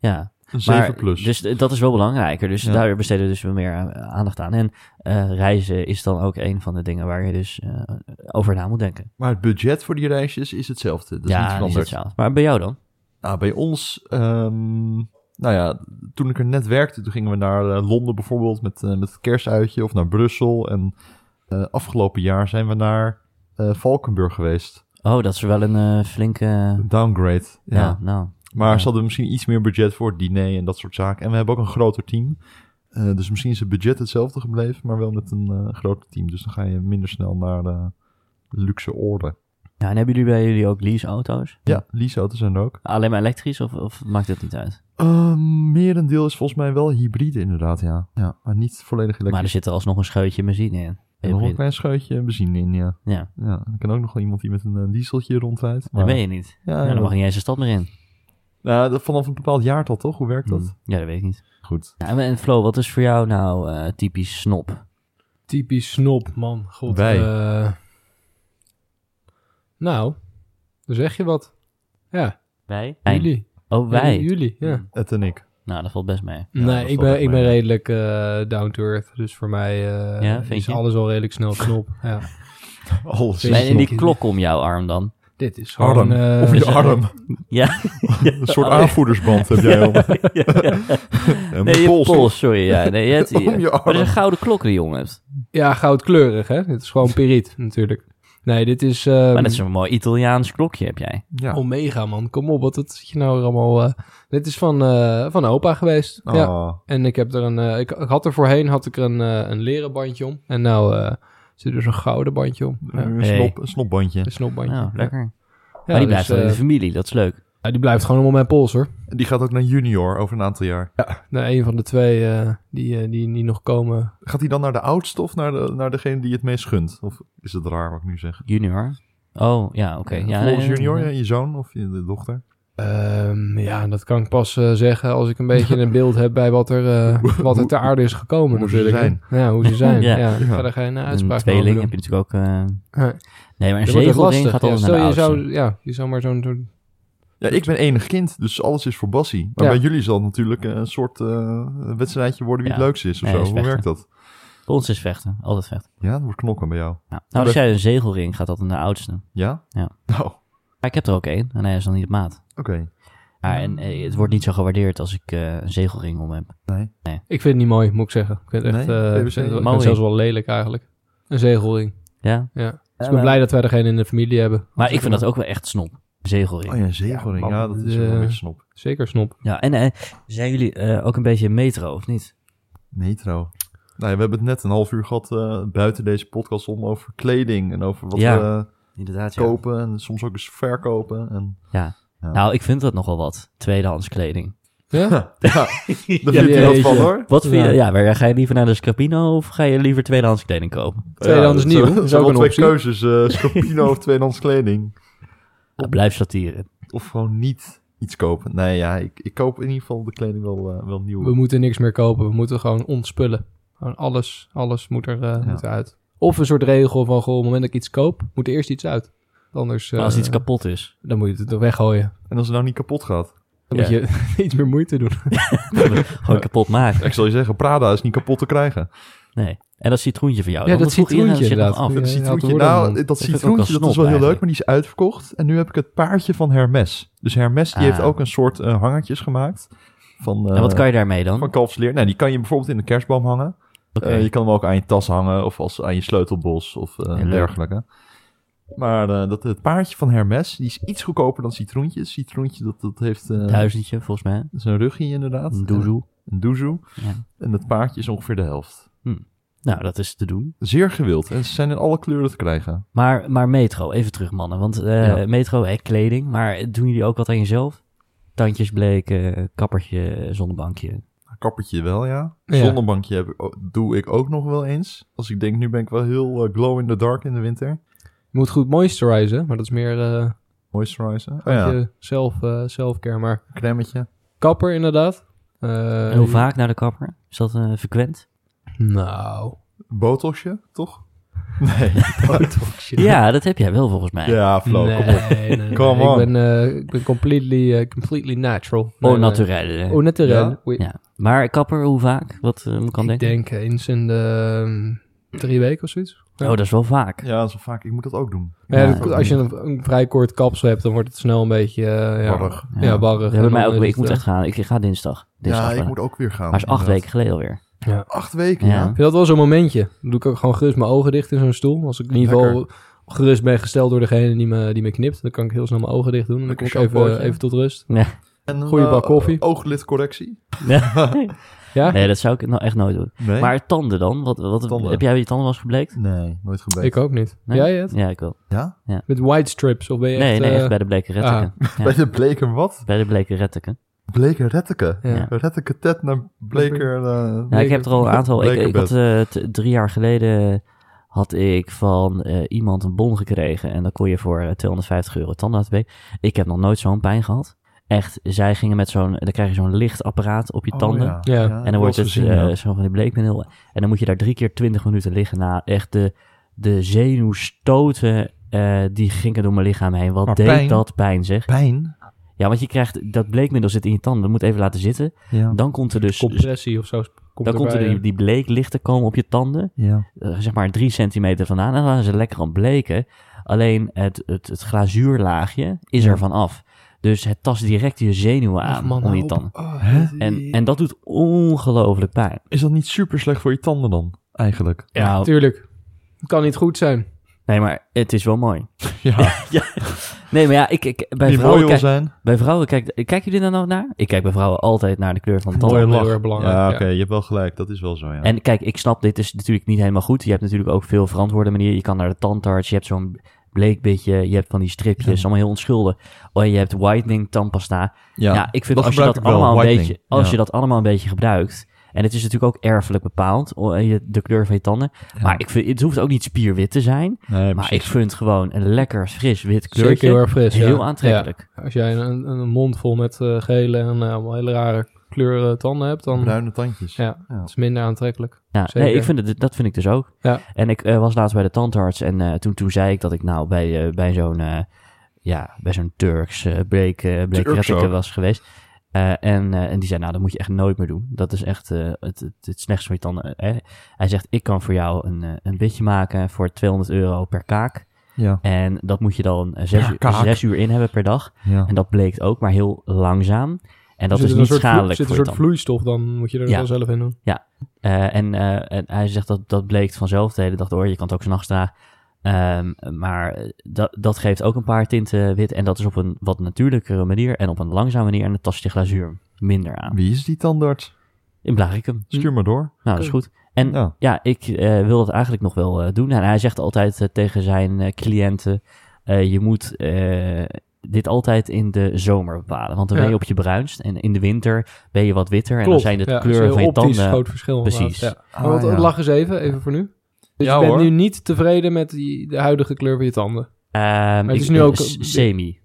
[SPEAKER 1] Ja,
[SPEAKER 2] Een 7
[SPEAKER 1] Maar,
[SPEAKER 2] plus.
[SPEAKER 1] Dus eh, dat is wel belangrijker. Dus
[SPEAKER 2] Ja.
[SPEAKER 1] daar besteden we dus wel meer eh, aandacht aan. En eh, reizen is dan ook een van de dingen waar je dus eh, over na moet denken.
[SPEAKER 2] Maar het budget voor die reisjes is hetzelfde. Dat is niet
[SPEAKER 1] dat is
[SPEAKER 2] veranderd.
[SPEAKER 1] hetzelfde. Maar bij jou dan?
[SPEAKER 2] Nou, bij ons, ehm, nou ja, toen ik er net werkte, toen gingen we naar eh, Londen bijvoorbeeld met, eh, met het kerstuitje of naar Brussel. En eh, afgelopen jaar zijn we naar eh, Valkenburg geweest.
[SPEAKER 1] Oh, dat is wel een eh, flinke...
[SPEAKER 2] Een Downgrade.
[SPEAKER 1] ja.
[SPEAKER 2] Ja.
[SPEAKER 1] nou.
[SPEAKER 2] Maar
[SPEAKER 1] Ja.
[SPEAKER 2] ze hadden misschien iets meer budget voor het diner en dat soort zaken. En we hebben ook een groter team. Eh, dus misschien is het budget hetzelfde gebleven, maar wel met een eh, groter team. Dus dan ga je minder snel naar de luxe orde.
[SPEAKER 1] Ja, en hebben jullie bij jullie ook leaseauto's?
[SPEAKER 2] Ja, leaseauto's zijn er ook.
[SPEAKER 1] Alleen maar elektrisch of, of maakt dat niet uit?
[SPEAKER 2] Eh,
[SPEAKER 1] Ehm,
[SPEAKER 2] merendeel is volgens mij wel hybride inderdaad, ja. ja maar niet volledig elektrisch.
[SPEAKER 1] Maar er zit er alsnog een scheutje benzine in.
[SPEAKER 2] En nog een Oh.
[SPEAKER 1] Hybride.
[SPEAKER 2] klein scheutje benzine in, ja.
[SPEAKER 1] Ja,
[SPEAKER 2] ja. Er kan ook nog wel iemand die met een eh, dieseltje rondrijdt.
[SPEAKER 1] daar
[SPEAKER 2] Maar,
[SPEAKER 1] ben je niet.
[SPEAKER 2] Ja,
[SPEAKER 1] Ja, dan
[SPEAKER 2] ja.
[SPEAKER 1] mag je niet eens de stad meer in.
[SPEAKER 2] Nou, dat- vanaf een bepaald jaartal, toch? Hoe werkt dat?
[SPEAKER 1] Hmm. Ja, dat weet ik niet.
[SPEAKER 2] Goed.
[SPEAKER 1] Ja, en- en Flo, wat is voor jou nou eh, typisch snop?
[SPEAKER 3] Typisch snop, man. God.
[SPEAKER 2] Wij.
[SPEAKER 3] eh, nou, dan zeg je wat. Ja,
[SPEAKER 1] Wij?
[SPEAKER 3] jullie.
[SPEAKER 1] Oh, wij.
[SPEAKER 3] Jullie, ja.
[SPEAKER 2] Het en ik.
[SPEAKER 1] Nou, dat valt best mee.
[SPEAKER 2] Ja,
[SPEAKER 3] nee,
[SPEAKER 2] dat
[SPEAKER 3] ik
[SPEAKER 2] valt
[SPEAKER 3] ben,
[SPEAKER 2] echt
[SPEAKER 3] ik
[SPEAKER 2] mee.
[SPEAKER 3] ben redelijk eh, down to earth. Dus voor mij eh,
[SPEAKER 1] Ja, vind
[SPEAKER 3] is
[SPEAKER 1] je?
[SPEAKER 3] alles al redelijk snel snop. ja.
[SPEAKER 2] Alles.
[SPEAKER 3] Weet
[SPEAKER 1] Nee, en die
[SPEAKER 3] Snop.
[SPEAKER 1] klok om jouw arm dan.
[SPEAKER 3] Dit is gewoon...
[SPEAKER 2] Arm.
[SPEAKER 3] eh,
[SPEAKER 2] of je arm.
[SPEAKER 1] Ja.
[SPEAKER 2] een soort aanvoerdersband heb jij al. En
[SPEAKER 1] Nee,
[SPEAKER 2] mijn
[SPEAKER 1] je pols,
[SPEAKER 2] pols.
[SPEAKER 1] sorry. Ja. Nee, je hebt,
[SPEAKER 2] Om je
[SPEAKER 1] Maar dat is
[SPEAKER 2] arm.
[SPEAKER 1] een gouden klok die je om hebt.
[SPEAKER 3] Ja, goudkleurig, hè? Dit is gewoon periet, natuurlijk. Nee, dit is... ehm,
[SPEAKER 1] Maar dat is een mooi Italiaans klokje heb jij.
[SPEAKER 2] Ja.
[SPEAKER 3] Omega, man. Kom op, wat dat zit je nou weer allemaal... eh, dit is van, eh, van opa geweest.
[SPEAKER 2] Ah,
[SPEAKER 3] Ja. En ik heb er een... eh, ik, ik had er voorheen had ik er een, eh, een leren bandje om. En nou eh, zit er zo'n gouden bandje om. Ja, Dus-
[SPEAKER 2] Een,
[SPEAKER 1] Hey.
[SPEAKER 2] snop, een snopbandje.
[SPEAKER 3] een snopbandje.
[SPEAKER 1] Nou, Mm. lekker.
[SPEAKER 3] Ja,
[SPEAKER 1] maar die
[SPEAKER 3] dus,
[SPEAKER 1] blijft wel in
[SPEAKER 3] eh,
[SPEAKER 1] de familie, dat is leuk.
[SPEAKER 3] ja, die blijft gewoon om mijn pols, hoor.
[SPEAKER 2] En Die gaat ook naar junior over een aantal jaar.
[SPEAKER 3] Nou, een van de twee eh, die, eh, die, die nog komen.
[SPEAKER 2] Gaat hij dan naar de oudste of naar, de, naar degene die het meest gunt? Of is het raar wat ik nu zeg?
[SPEAKER 1] Junior. Oh, ja, oké. Ja,
[SPEAKER 2] Volgens
[SPEAKER 1] nee,
[SPEAKER 2] junior,
[SPEAKER 3] eh,
[SPEAKER 1] nee.
[SPEAKER 2] ja, je zoon of je de dochter?
[SPEAKER 3] Ehm, ja, dat kan ik pas eh, zeggen als ik een beetje een beeld heb bij wat er, eh, wat er ter aarde is gekomen.
[SPEAKER 2] Hoe ze
[SPEAKER 3] natuurlijk, hè. Ja, hoe ze zijn.
[SPEAKER 1] Ja.
[SPEAKER 3] ja.
[SPEAKER 2] Ja.
[SPEAKER 3] Verder geen eh,
[SPEAKER 1] Een
[SPEAKER 3] uitspraak over
[SPEAKER 1] tweeling
[SPEAKER 3] doen.
[SPEAKER 1] heb je natuurlijk ook... eh,
[SPEAKER 3] Ja.
[SPEAKER 1] Nee, maar een
[SPEAKER 3] Dan wordt het
[SPEAKER 1] zegelding
[SPEAKER 3] lastig.
[SPEAKER 1] gaat
[SPEAKER 3] ja.
[SPEAKER 1] altijd
[SPEAKER 3] Stel,
[SPEAKER 1] naar de
[SPEAKER 3] je
[SPEAKER 1] oudste.
[SPEAKER 3] zou, ja, je zou maar zo'n... zo'n-
[SPEAKER 2] Ja, ik ben enig kind, dus alles is voor Bassie. Maar
[SPEAKER 3] Ja.
[SPEAKER 2] bij jullie zal het natuurlijk eh, een soort eh, wedstrijdje worden wie het
[SPEAKER 1] Ja.
[SPEAKER 2] leukste is of
[SPEAKER 1] Nee,
[SPEAKER 2] zo.
[SPEAKER 1] is
[SPEAKER 2] Hoe
[SPEAKER 1] vechten.
[SPEAKER 2] werkt dat?
[SPEAKER 1] Bij ons is vechten, altijd vechten.
[SPEAKER 2] Ja, dat wordt knokken bij jou.
[SPEAKER 1] Ja. Nou, als
[SPEAKER 2] dat-
[SPEAKER 1] jij een zegelring gaat, dat naar de oudste.
[SPEAKER 2] Ja?
[SPEAKER 1] Ja.
[SPEAKER 2] Nou,
[SPEAKER 1] Maar ik heb er ook één en hij is dan niet op maat.
[SPEAKER 2] Oké.
[SPEAKER 1] Maar en, eh, het wordt niet zo gewaardeerd als ik eh, een zegelring om heb.
[SPEAKER 2] Nee.
[SPEAKER 3] Ik vind het niet mooi, moet ik zeggen. Ik vind het echt,
[SPEAKER 2] Nee,
[SPEAKER 3] eh,
[SPEAKER 2] PVC?
[SPEAKER 3] ik vind het- ik vind
[SPEAKER 1] Mooi.
[SPEAKER 3] het zelfs wel lelijk eigenlijk. Een zegelring,
[SPEAKER 1] Ja?
[SPEAKER 3] ja. Dus ik
[SPEAKER 1] maar-
[SPEAKER 3] ben blij dat wij er geen in de familie hebben.
[SPEAKER 1] Maar ik vind dat ook wel echt snop. Een Zegelring.
[SPEAKER 2] Oh ja, een zegelring.
[SPEAKER 3] Ja,
[SPEAKER 2] Ja, dat is wel
[SPEAKER 3] eh,
[SPEAKER 2] een beetje snop.
[SPEAKER 3] Zeker snop.
[SPEAKER 1] Ja, en eh, zijn jullie eh, ook een beetje metro, of niet?
[SPEAKER 2] Metro. Nou ja, we hebben het net een half uur gehad eh, buiten deze podcast om over kleding en over wat
[SPEAKER 1] Ja.
[SPEAKER 2] we
[SPEAKER 1] Inderdaad, ja.
[SPEAKER 2] kopen en soms ook eens verkopen. En,
[SPEAKER 1] Ja.
[SPEAKER 2] Ja.
[SPEAKER 1] Nou, ik vind dat nogal wat. Tweedehands kleding.
[SPEAKER 3] Ja?
[SPEAKER 2] ja, daar
[SPEAKER 3] Ja,
[SPEAKER 2] vind je wat
[SPEAKER 3] jeetje.
[SPEAKER 2] van hoor.
[SPEAKER 1] Wat vind je?
[SPEAKER 3] Ja.
[SPEAKER 1] Ja, maar ga je liever naar de Scapino of ga je liever tweedehands kleding kopen?
[SPEAKER 3] Tweedehands
[SPEAKER 2] Ja,
[SPEAKER 3] nieuw,
[SPEAKER 2] dat zijn-
[SPEAKER 3] is
[SPEAKER 2] zijn
[SPEAKER 3] ook
[SPEAKER 2] wel
[SPEAKER 3] een
[SPEAKER 2] twee
[SPEAKER 3] optie.
[SPEAKER 2] keuzes. eh Scapino of tweedehands kleding.
[SPEAKER 1] Ja, blijf satire.
[SPEAKER 2] Of gewoon niet iets kopen. Nee, ja, ik, ik koop in ieder geval de kleding wel, eh, wel nieuw.
[SPEAKER 3] We moeten niks meer kopen. We moeten gewoon ontspullen. Gewoon alles, alles moet er eh, moet uit. Of een soort regel van, goh, op het moment dat ik iets koop, moet er eerst iets uit. Anders
[SPEAKER 1] Maar als
[SPEAKER 3] eh,
[SPEAKER 1] iets kapot is.
[SPEAKER 3] dan moet je het toch weggooien.
[SPEAKER 2] En als het nou niet kapot gaat.
[SPEAKER 3] Dan
[SPEAKER 1] Ja.
[SPEAKER 3] moet je iets meer moeite doen.
[SPEAKER 1] Gewoon kapot maken.
[SPEAKER 2] Ik zal je zeggen, Prada is niet kapot te krijgen.
[SPEAKER 1] Nee. En dat citroentje van jou.
[SPEAKER 3] Ja,
[SPEAKER 1] dan
[SPEAKER 3] dat
[SPEAKER 1] vroeg iedereen
[SPEAKER 3] citroentje
[SPEAKER 1] zich nog
[SPEAKER 3] inderdaad.
[SPEAKER 1] af.
[SPEAKER 3] Ja,
[SPEAKER 2] dat
[SPEAKER 3] je had
[SPEAKER 2] citroentje,
[SPEAKER 3] woorden, man.
[SPEAKER 2] nou, dat,
[SPEAKER 1] Dat vind ik ook
[SPEAKER 2] citroentje,
[SPEAKER 1] wel
[SPEAKER 2] dat was
[SPEAKER 1] snop
[SPEAKER 2] wel heel
[SPEAKER 1] eigenlijk.
[SPEAKER 2] leuk, maar die is uitverkocht. En nu heb ik het paardje van Hermes. Dus Hermes, die
[SPEAKER 1] Ah.
[SPEAKER 2] heeft ook een soort eh, hangertjes gemaakt. Van, eh,
[SPEAKER 1] En wat kan je daarmee dan?
[SPEAKER 2] van kalfsleer. Nou, die kan je bijvoorbeeld in de kerstboom hangen.
[SPEAKER 1] Oké.
[SPEAKER 2] Eh, je kan hem ook aan je tas hangen of als, aan je sleutelbos of eh,
[SPEAKER 1] Ja, leuk.
[SPEAKER 2] dergelijke. Maar eh, dat, het paardje van Hermes, die is iets goedkoper dan citroentjes. Citroentje, dat, dat heeft eh,
[SPEAKER 1] Duizendje, volgens mij.
[SPEAKER 2] dat is een rugje inderdaad.
[SPEAKER 1] Een doezoe.
[SPEAKER 2] Een doezoe.
[SPEAKER 1] Ja.
[SPEAKER 2] En dat paardje is ongeveer de helft.
[SPEAKER 1] Nou, dat is te doen.
[SPEAKER 2] Zeer gewild. En ze zijn in alle kleuren te krijgen.
[SPEAKER 1] Maar, maar metro, even terug mannen. Want eh,
[SPEAKER 2] Ja.
[SPEAKER 1] metro, hè, kleding. Maar doen jullie ook wat aan jezelf? Tandjes bleken, kappertje, zonnebankje.
[SPEAKER 2] Kappertje wel, ja.
[SPEAKER 3] Ja.
[SPEAKER 2] Zonnebankje heb ik, o- doe ik ook nog wel eens. Als ik denk, nu ben ik wel heel eh, glow in the dark in de winter.
[SPEAKER 3] Je moet goed moisturizen, maar dat is meer eh
[SPEAKER 2] Moisturizer. Oh ja,
[SPEAKER 3] je zelf, eh, self-care. maar
[SPEAKER 2] cremmetje.
[SPEAKER 3] kapper inderdaad. Eh,
[SPEAKER 1] en hoe vaak naar de kapper? Is dat eh frequent?
[SPEAKER 3] Nou.
[SPEAKER 2] Botoxje, toch? Nee.
[SPEAKER 1] Ja, dat heb jij wel volgens mij.
[SPEAKER 2] ja, Flo,
[SPEAKER 3] nee,
[SPEAKER 2] kom op.
[SPEAKER 3] nee, nee.
[SPEAKER 2] Come
[SPEAKER 3] Ik
[SPEAKER 2] on.
[SPEAKER 3] ben, eh, ik ben completely, eh, completely natural.
[SPEAKER 1] Oh,
[SPEAKER 3] Nee, nee.
[SPEAKER 1] naturel. hè.
[SPEAKER 3] Oh, naturel.
[SPEAKER 2] Ja?
[SPEAKER 3] Oui.
[SPEAKER 1] Ja. Maar kapper, hoe vaak? Wat eh, kan
[SPEAKER 3] Ik
[SPEAKER 1] denken?
[SPEAKER 3] denk eens in de ehm, drie weken of zoiets.
[SPEAKER 1] Oh, dat is wel vaak.
[SPEAKER 2] Ja, zo vaak. Ik moet dat ook doen.
[SPEAKER 3] Maar ja,
[SPEAKER 1] Ja,
[SPEAKER 3] dat-
[SPEAKER 1] dat
[SPEAKER 3] als je een, een vrij kort kapsel hebt, dan wordt het snel een beetje... eh, ja,
[SPEAKER 2] Warrig.
[SPEAKER 3] Ja, barrig.
[SPEAKER 1] Dat
[SPEAKER 3] En
[SPEAKER 1] hebben
[SPEAKER 3] dan
[SPEAKER 1] mij ook
[SPEAKER 3] is
[SPEAKER 1] weer. Ik
[SPEAKER 3] het,
[SPEAKER 1] moet
[SPEAKER 3] eh,
[SPEAKER 1] echt gaan. Ik, ik ga dinsdag. dinsdag
[SPEAKER 2] Ja, ik
[SPEAKER 1] wel.
[SPEAKER 2] moet ook weer gaan.
[SPEAKER 1] maar is acht
[SPEAKER 2] inderdaad.
[SPEAKER 1] weken geleden alweer.
[SPEAKER 2] Acht weken, ja.
[SPEAKER 1] Ja.
[SPEAKER 3] Ik vind dat wel zo'n momentje. Dan doe ik ook gewoon gerust mijn ogen dicht in zo'n stoel. Als ik in ieder geval gerust ben gesteld door degene die me, die me knipt, dan kan ik heel snel mijn ogen dicht doen. En dan kom
[SPEAKER 2] Lekker
[SPEAKER 3] ik even,
[SPEAKER 2] shampootje.
[SPEAKER 3] even tot rust.
[SPEAKER 2] En een,
[SPEAKER 3] Goeie bak
[SPEAKER 2] eh,
[SPEAKER 3] koffie.
[SPEAKER 2] ooglidcorrectie.
[SPEAKER 3] Ja,
[SPEAKER 1] Nee, dat zou ik nou echt nooit doen.
[SPEAKER 2] Nee.
[SPEAKER 1] Maar tanden dan? Wat, wat,
[SPEAKER 2] Tanden.
[SPEAKER 1] Heb jij je tanden wel eens gebleekt?
[SPEAKER 2] Nee, nooit gebeten.
[SPEAKER 3] ik ook niet.
[SPEAKER 1] Nee?
[SPEAKER 3] Jij het?
[SPEAKER 1] Ja, ik wel.
[SPEAKER 2] Ja?
[SPEAKER 3] Met white strips? Of ben je
[SPEAKER 1] nee,
[SPEAKER 3] echt...
[SPEAKER 1] nee, echt
[SPEAKER 3] eh,
[SPEAKER 1] bij de bleke retteken. Ja.
[SPEAKER 2] Bij de bleker wat?
[SPEAKER 1] Bij de bleke retteken.
[SPEAKER 2] Bleker retteke.
[SPEAKER 3] ja.
[SPEAKER 1] Ja.
[SPEAKER 2] Retteke tet naar bleker... eh,
[SPEAKER 1] Ja, ik heb er al een aantal. Ik,
[SPEAKER 2] Bleke
[SPEAKER 1] ik had eh, t- drie jaar geleden had ik van eh, iemand een bon gekregen. En dan kon je voor eh, 250 euro tandarts bij. Ik heb nog nooit zo'n pijn gehad. Echt, zij gingen met zo'n, dan krijg je zo'n lichtapparaat op je
[SPEAKER 2] oh,
[SPEAKER 1] tanden.
[SPEAKER 2] ja.
[SPEAKER 3] Ja. En
[SPEAKER 1] En dan wordt het eh, zo van die bleekmiddel. En dan moet je daar drie keer twintig minuten liggen na. Echt de, de zenuwstoten eh, die gingen door mijn lichaam heen. Wat
[SPEAKER 2] Maar
[SPEAKER 1] deed
[SPEAKER 2] pijn?
[SPEAKER 1] dat pijn zeg.
[SPEAKER 2] Pijn?
[SPEAKER 1] Ja, want je krijgt dat bleekmiddel zit in je tanden. Dat moet even laten zitten.
[SPEAKER 2] Ja.
[SPEAKER 1] Dan komt er dus...
[SPEAKER 3] Compressie of zo. Komt
[SPEAKER 1] dan komt er
[SPEAKER 3] erbij,
[SPEAKER 1] die, die bleeklichten komen op je tanden.
[SPEAKER 2] ja.
[SPEAKER 1] eh, zeg maar drie centimeter vandaan. En dan gaan ze lekker aan het bleken. Alleen het, het, het glazuurlaagje is er vanaf. Dus het tast direct je zenuwen
[SPEAKER 3] Ach,
[SPEAKER 1] aan
[SPEAKER 3] man,
[SPEAKER 1] om je
[SPEAKER 3] op.
[SPEAKER 1] tanden.
[SPEAKER 3] Oh,
[SPEAKER 2] Hè?
[SPEAKER 1] En, en dat doet ongelooflijk pijn.
[SPEAKER 2] Is dat niet super slecht voor je tanden dan, eigenlijk?
[SPEAKER 3] Ja,
[SPEAKER 1] Nou.
[SPEAKER 3] tuurlijk. Het kan niet goed zijn.
[SPEAKER 1] Nee, maar het is wel mooi.
[SPEAKER 2] Ja,
[SPEAKER 1] Nee, maar ja, ik, ik, bij,
[SPEAKER 2] die mooi
[SPEAKER 1] vrouwen
[SPEAKER 2] wil
[SPEAKER 1] kijk,
[SPEAKER 2] zijn.
[SPEAKER 1] bij vrouwen kijk, kijken jullie daar nou naar? Ik kijk bij vrouwen altijd naar de kleur van de
[SPEAKER 3] Mooie
[SPEAKER 1] tanden.
[SPEAKER 3] heel erg belangrijk.
[SPEAKER 2] Ja,
[SPEAKER 3] ja.
[SPEAKER 2] oké, je hebt wel gelijk. Dat is wel zo, ja.
[SPEAKER 1] En kijk, ik snap, dit is natuurlijk niet helemaal goed. Je hebt natuurlijk ook veel verantwoorde manieren. Je kan naar de tandarts, je hebt zo'n bleekbitje, je hebt van die stripjes, allemaal heel onschuldig. Oh, en je hebt whitening tandpasta. Ja, ik vind
[SPEAKER 2] dat
[SPEAKER 1] als je
[SPEAKER 2] gebruik
[SPEAKER 1] dat
[SPEAKER 2] ik wel,
[SPEAKER 1] allemaal een
[SPEAKER 2] whitening.
[SPEAKER 1] beetje, als
[SPEAKER 2] Ja.
[SPEAKER 1] je dat allemaal een beetje gebruikt. En het is natuurlijk ook erfelijk bepaald, oh, en je- de kleur van je tanden. Maar ik vind, het hoeft ook niet spierwit te zijn.
[SPEAKER 2] nee,
[SPEAKER 1] Maar ik
[SPEAKER 2] precies.
[SPEAKER 1] vind gewoon een lekker fris wit kleurtje
[SPEAKER 3] Zeker heel erg fris. ja.
[SPEAKER 1] heel aantrekkelijk.
[SPEAKER 3] Ja. Als jij een, een mond vol met eh, gele en eh, allemaal hele rare kleuren eh, tanden hebt, dan
[SPEAKER 2] Bruine tandjes.
[SPEAKER 3] ja, het is minder aantrekkelijk.
[SPEAKER 1] Ja,
[SPEAKER 3] Zeker.
[SPEAKER 1] Nou, nee, ik vind het, dat vind ik dus ook.
[SPEAKER 3] Ja.
[SPEAKER 1] En ik eh, was laatst bij de tandarts en eh, toen, toen zei ik dat ik nou bij, eh, bij zo'n eh, ja, bij zo'n Turks eh bleek, eh, bleek
[SPEAKER 2] Turks
[SPEAKER 1] retteke
[SPEAKER 2] ook.
[SPEAKER 1] was geweest. Eh, en, eh, en die zei, nou, dat moet je echt nooit meer doen. Dat is echt eh, het, het, het slechtste van je tanden. eh. Hij zegt, ik kan voor jou een, eh, een bitje maken voor 200 euro per kaak.
[SPEAKER 2] Ja.
[SPEAKER 1] En dat moet je dan eh, zes,
[SPEAKER 2] Ja,
[SPEAKER 1] uur-
[SPEAKER 2] kaak.
[SPEAKER 1] zes uur in hebben per dag.
[SPEAKER 2] ja.
[SPEAKER 1] En dat bleekt ook, maar heel langzaam. En dat
[SPEAKER 3] Er
[SPEAKER 1] is niet
[SPEAKER 3] zit een soort vloe-
[SPEAKER 1] schadelijk
[SPEAKER 3] Er zit
[SPEAKER 1] voor
[SPEAKER 3] een
[SPEAKER 1] je
[SPEAKER 3] soort
[SPEAKER 1] tanden.
[SPEAKER 3] vloeistof, dan moet je er
[SPEAKER 1] Ja.
[SPEAKER 3] wel zelf in doen.
[SPEAKER 1] Eh, en, eh, en hij zegt dat dat bleek vanzelf de hele dag door. Je kan het ook s'nachts dragen. Ehm, maar eh, dat, dat geeft ook een paar tinten wit. En dat is op een wat natuurlijkere manier en op een langzame manier. En het tast je glazuur minder aan.
[SPEAKER 2] Wie is die tandarts?
[SPEAKER 1] In Blarikum.
[SPEAKER 2] Stuur maar door.
[SPEAKER 1] Nou, dat is goed. En
[SPEAKER 2] Ja.
[SPEAKER 1] ja, ik eh, wil dat eigenlijk nog wel eh, doen. En hij zegt altijd eh, tegen zijn eh, cliënten: eh, je moet eh, dit altijd in de zomer bepalen. Want dan ben je
[SPEAKER 3] Ja.
[SPEAKER 1] op je bruinst. En in de winter ben je wat witter. en dan
[SPEAKER 3] Klopt,
[SPEAKER 1] zijn de
[SPEAKER 3] ja, dat is
[SPEAKER 1] kleuren
[SPEAKER 3] een
[SPEAKER 1] van
[SPEAKER 3] heel
[SPEAKER 1] je
[SPEAKER 3] optisch
[SPEAKER 1] tanden.
[SPEAKER 3] groot verschil. inderdaad.
[SPEAKER 1] Precies.
[SPEAKER 3] Ja.
[SPEAKER 2] Ah,
[SPEAKER 3] Want eh,
[SPEAKER 2] ja.
[SPEAKER 3] lach eens even, even voor nu. Dus
[SPEAKER 2] Ja,
[SPEAKER 3] je bent
[SPEAKER 2] hoor.
[SPEAKER 3] nu niet tevreden met die, de huidige kleur van je tanden.
[SPEAKER 1] Ehm,
[SPEAKER 3] het
[SPEAKER 1] ik-
[SPEAKER 3] is nu ook-
[SPEAKER 1] s- semi.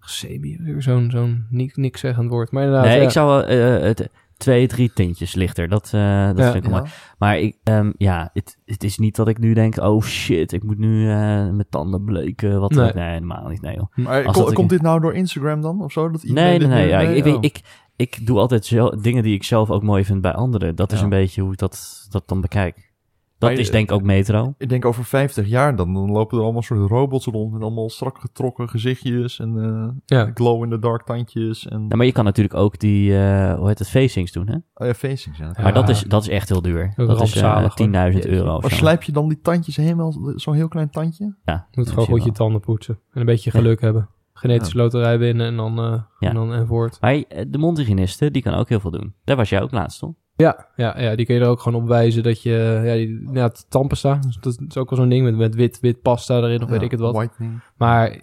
[SPEAKER 3] Semi, weer zo'n zo'n niks, niks zeggend woord. Maar inderdaad,
[SPEAKER 1] nee,
[SPEAKER 3] ja.
[SPEAKER 1] ik zou wel eh, eh, t- twee, drie tintjes lichter. Dat, eh, dat
[SPEAKER 3] Ja,
[SPEAKER 1] vind ik wel mooi. Maar ik, ehm, ja, het, het is niet dat ik nu denk, oh shit, ik moet nu eh, mijn tanden bleken. Wat
[SPEAKER 3] Nee.
[SPEAKER 1] nee. nee, helemaal niet. Nee, joh.
[SPEAKER 2] Maar
[SPEAKER 1] Als
[SPEAKER 2] ko-
[SPEAKER 1] dat ik-
[SPEAKER 2] komt dit nou door Instagram dan? Of zo? Dat iedereen
[SPEAKER 1] Nee, nee,
[SPEAKER 2] dit
[SPEAKER 1] nee.
[SPEAKER 2] nu-
[SPEAKER 1] ja, ik,
[SPEAKER 2] oh.
[SPEAKER 1] ik, ik, ik doe altijd zo, dingen die ik zelf ook mooi vind bij anderen. Dat is
[SPEAKER 2] Ja.
[SPEAKER 1] een beetje hoe ik dat, dat dan bekijk. Dat
[SPEAKER 2] Maar je-
[SPEAKER 1] is denk ik ook metro.
[SPEAKER 2] Ik denk over 50 jaar dan, dan lopen er allemaal soort robots rond met allemaal strak getrokken gezichtjes en eh,
[SPEAKER 3] Ja.
[SPEAKER 2] glow-in-the-dark tandjes en
[SPEAKER 1] Ja, maar je kan natuurlijk ook die, eh, hoe heet het, facings doen, hè?
[SPEAKER 2] oh ja, facings. Ja.
[SPEAKER 1] Maar dat
[SPEAKER 3] Ja.
[SPEAKER 1] is, dat is echt heel duur.
[SPEAKER 3] Heel
[SPEAKER 1] dat is eh,
[SPEAKER 3] rampzalig, hoor.
[SPEAKER 1] 10.000
[SPEAKER 3] Jeetje.
[SPEAKER 1] euro of
[SPEAKER 2] maar
[SPEAKER 1] zo.
[SPEAKER 2] slijp je dan die tandjes helemaal, zo'n heel klein tandje?
[SPEAKER 1] Ja,
[SPEAKER 3] Je moet
[SPEAKER 1] dat
[SPEAKER 3] gewoon
[SPEAKER 1] zie je
[SPEAKER 3] goed je
[SPEAKER 1] wel.
[SPEAKER 3] tanden poetsen. En een beetje geluk hebben. Genetische loterij winnen en dan, eh,
[SPEAKER 1] Ja.
[SPEAKER 3] en dan en voort.
[SPEAKER 1] Maar eh, de mondhygiëniste, die kan ook heel veel doen. Daar was jij ook laatst, toch?
[SPEAKER 3] Ja, ja, ja, die kun je er ook gewoon op wijzen dat je... Ja, die, ja het tandpasta, dus dat is ook wel zo'n ding met, met wit, wit pasta erin of weet
[SPEAKER 2] Ja,
[SPEAKER 3] ik het wat.
[SPEAKER 2] Whitening.
[SPEAKER 3] Maar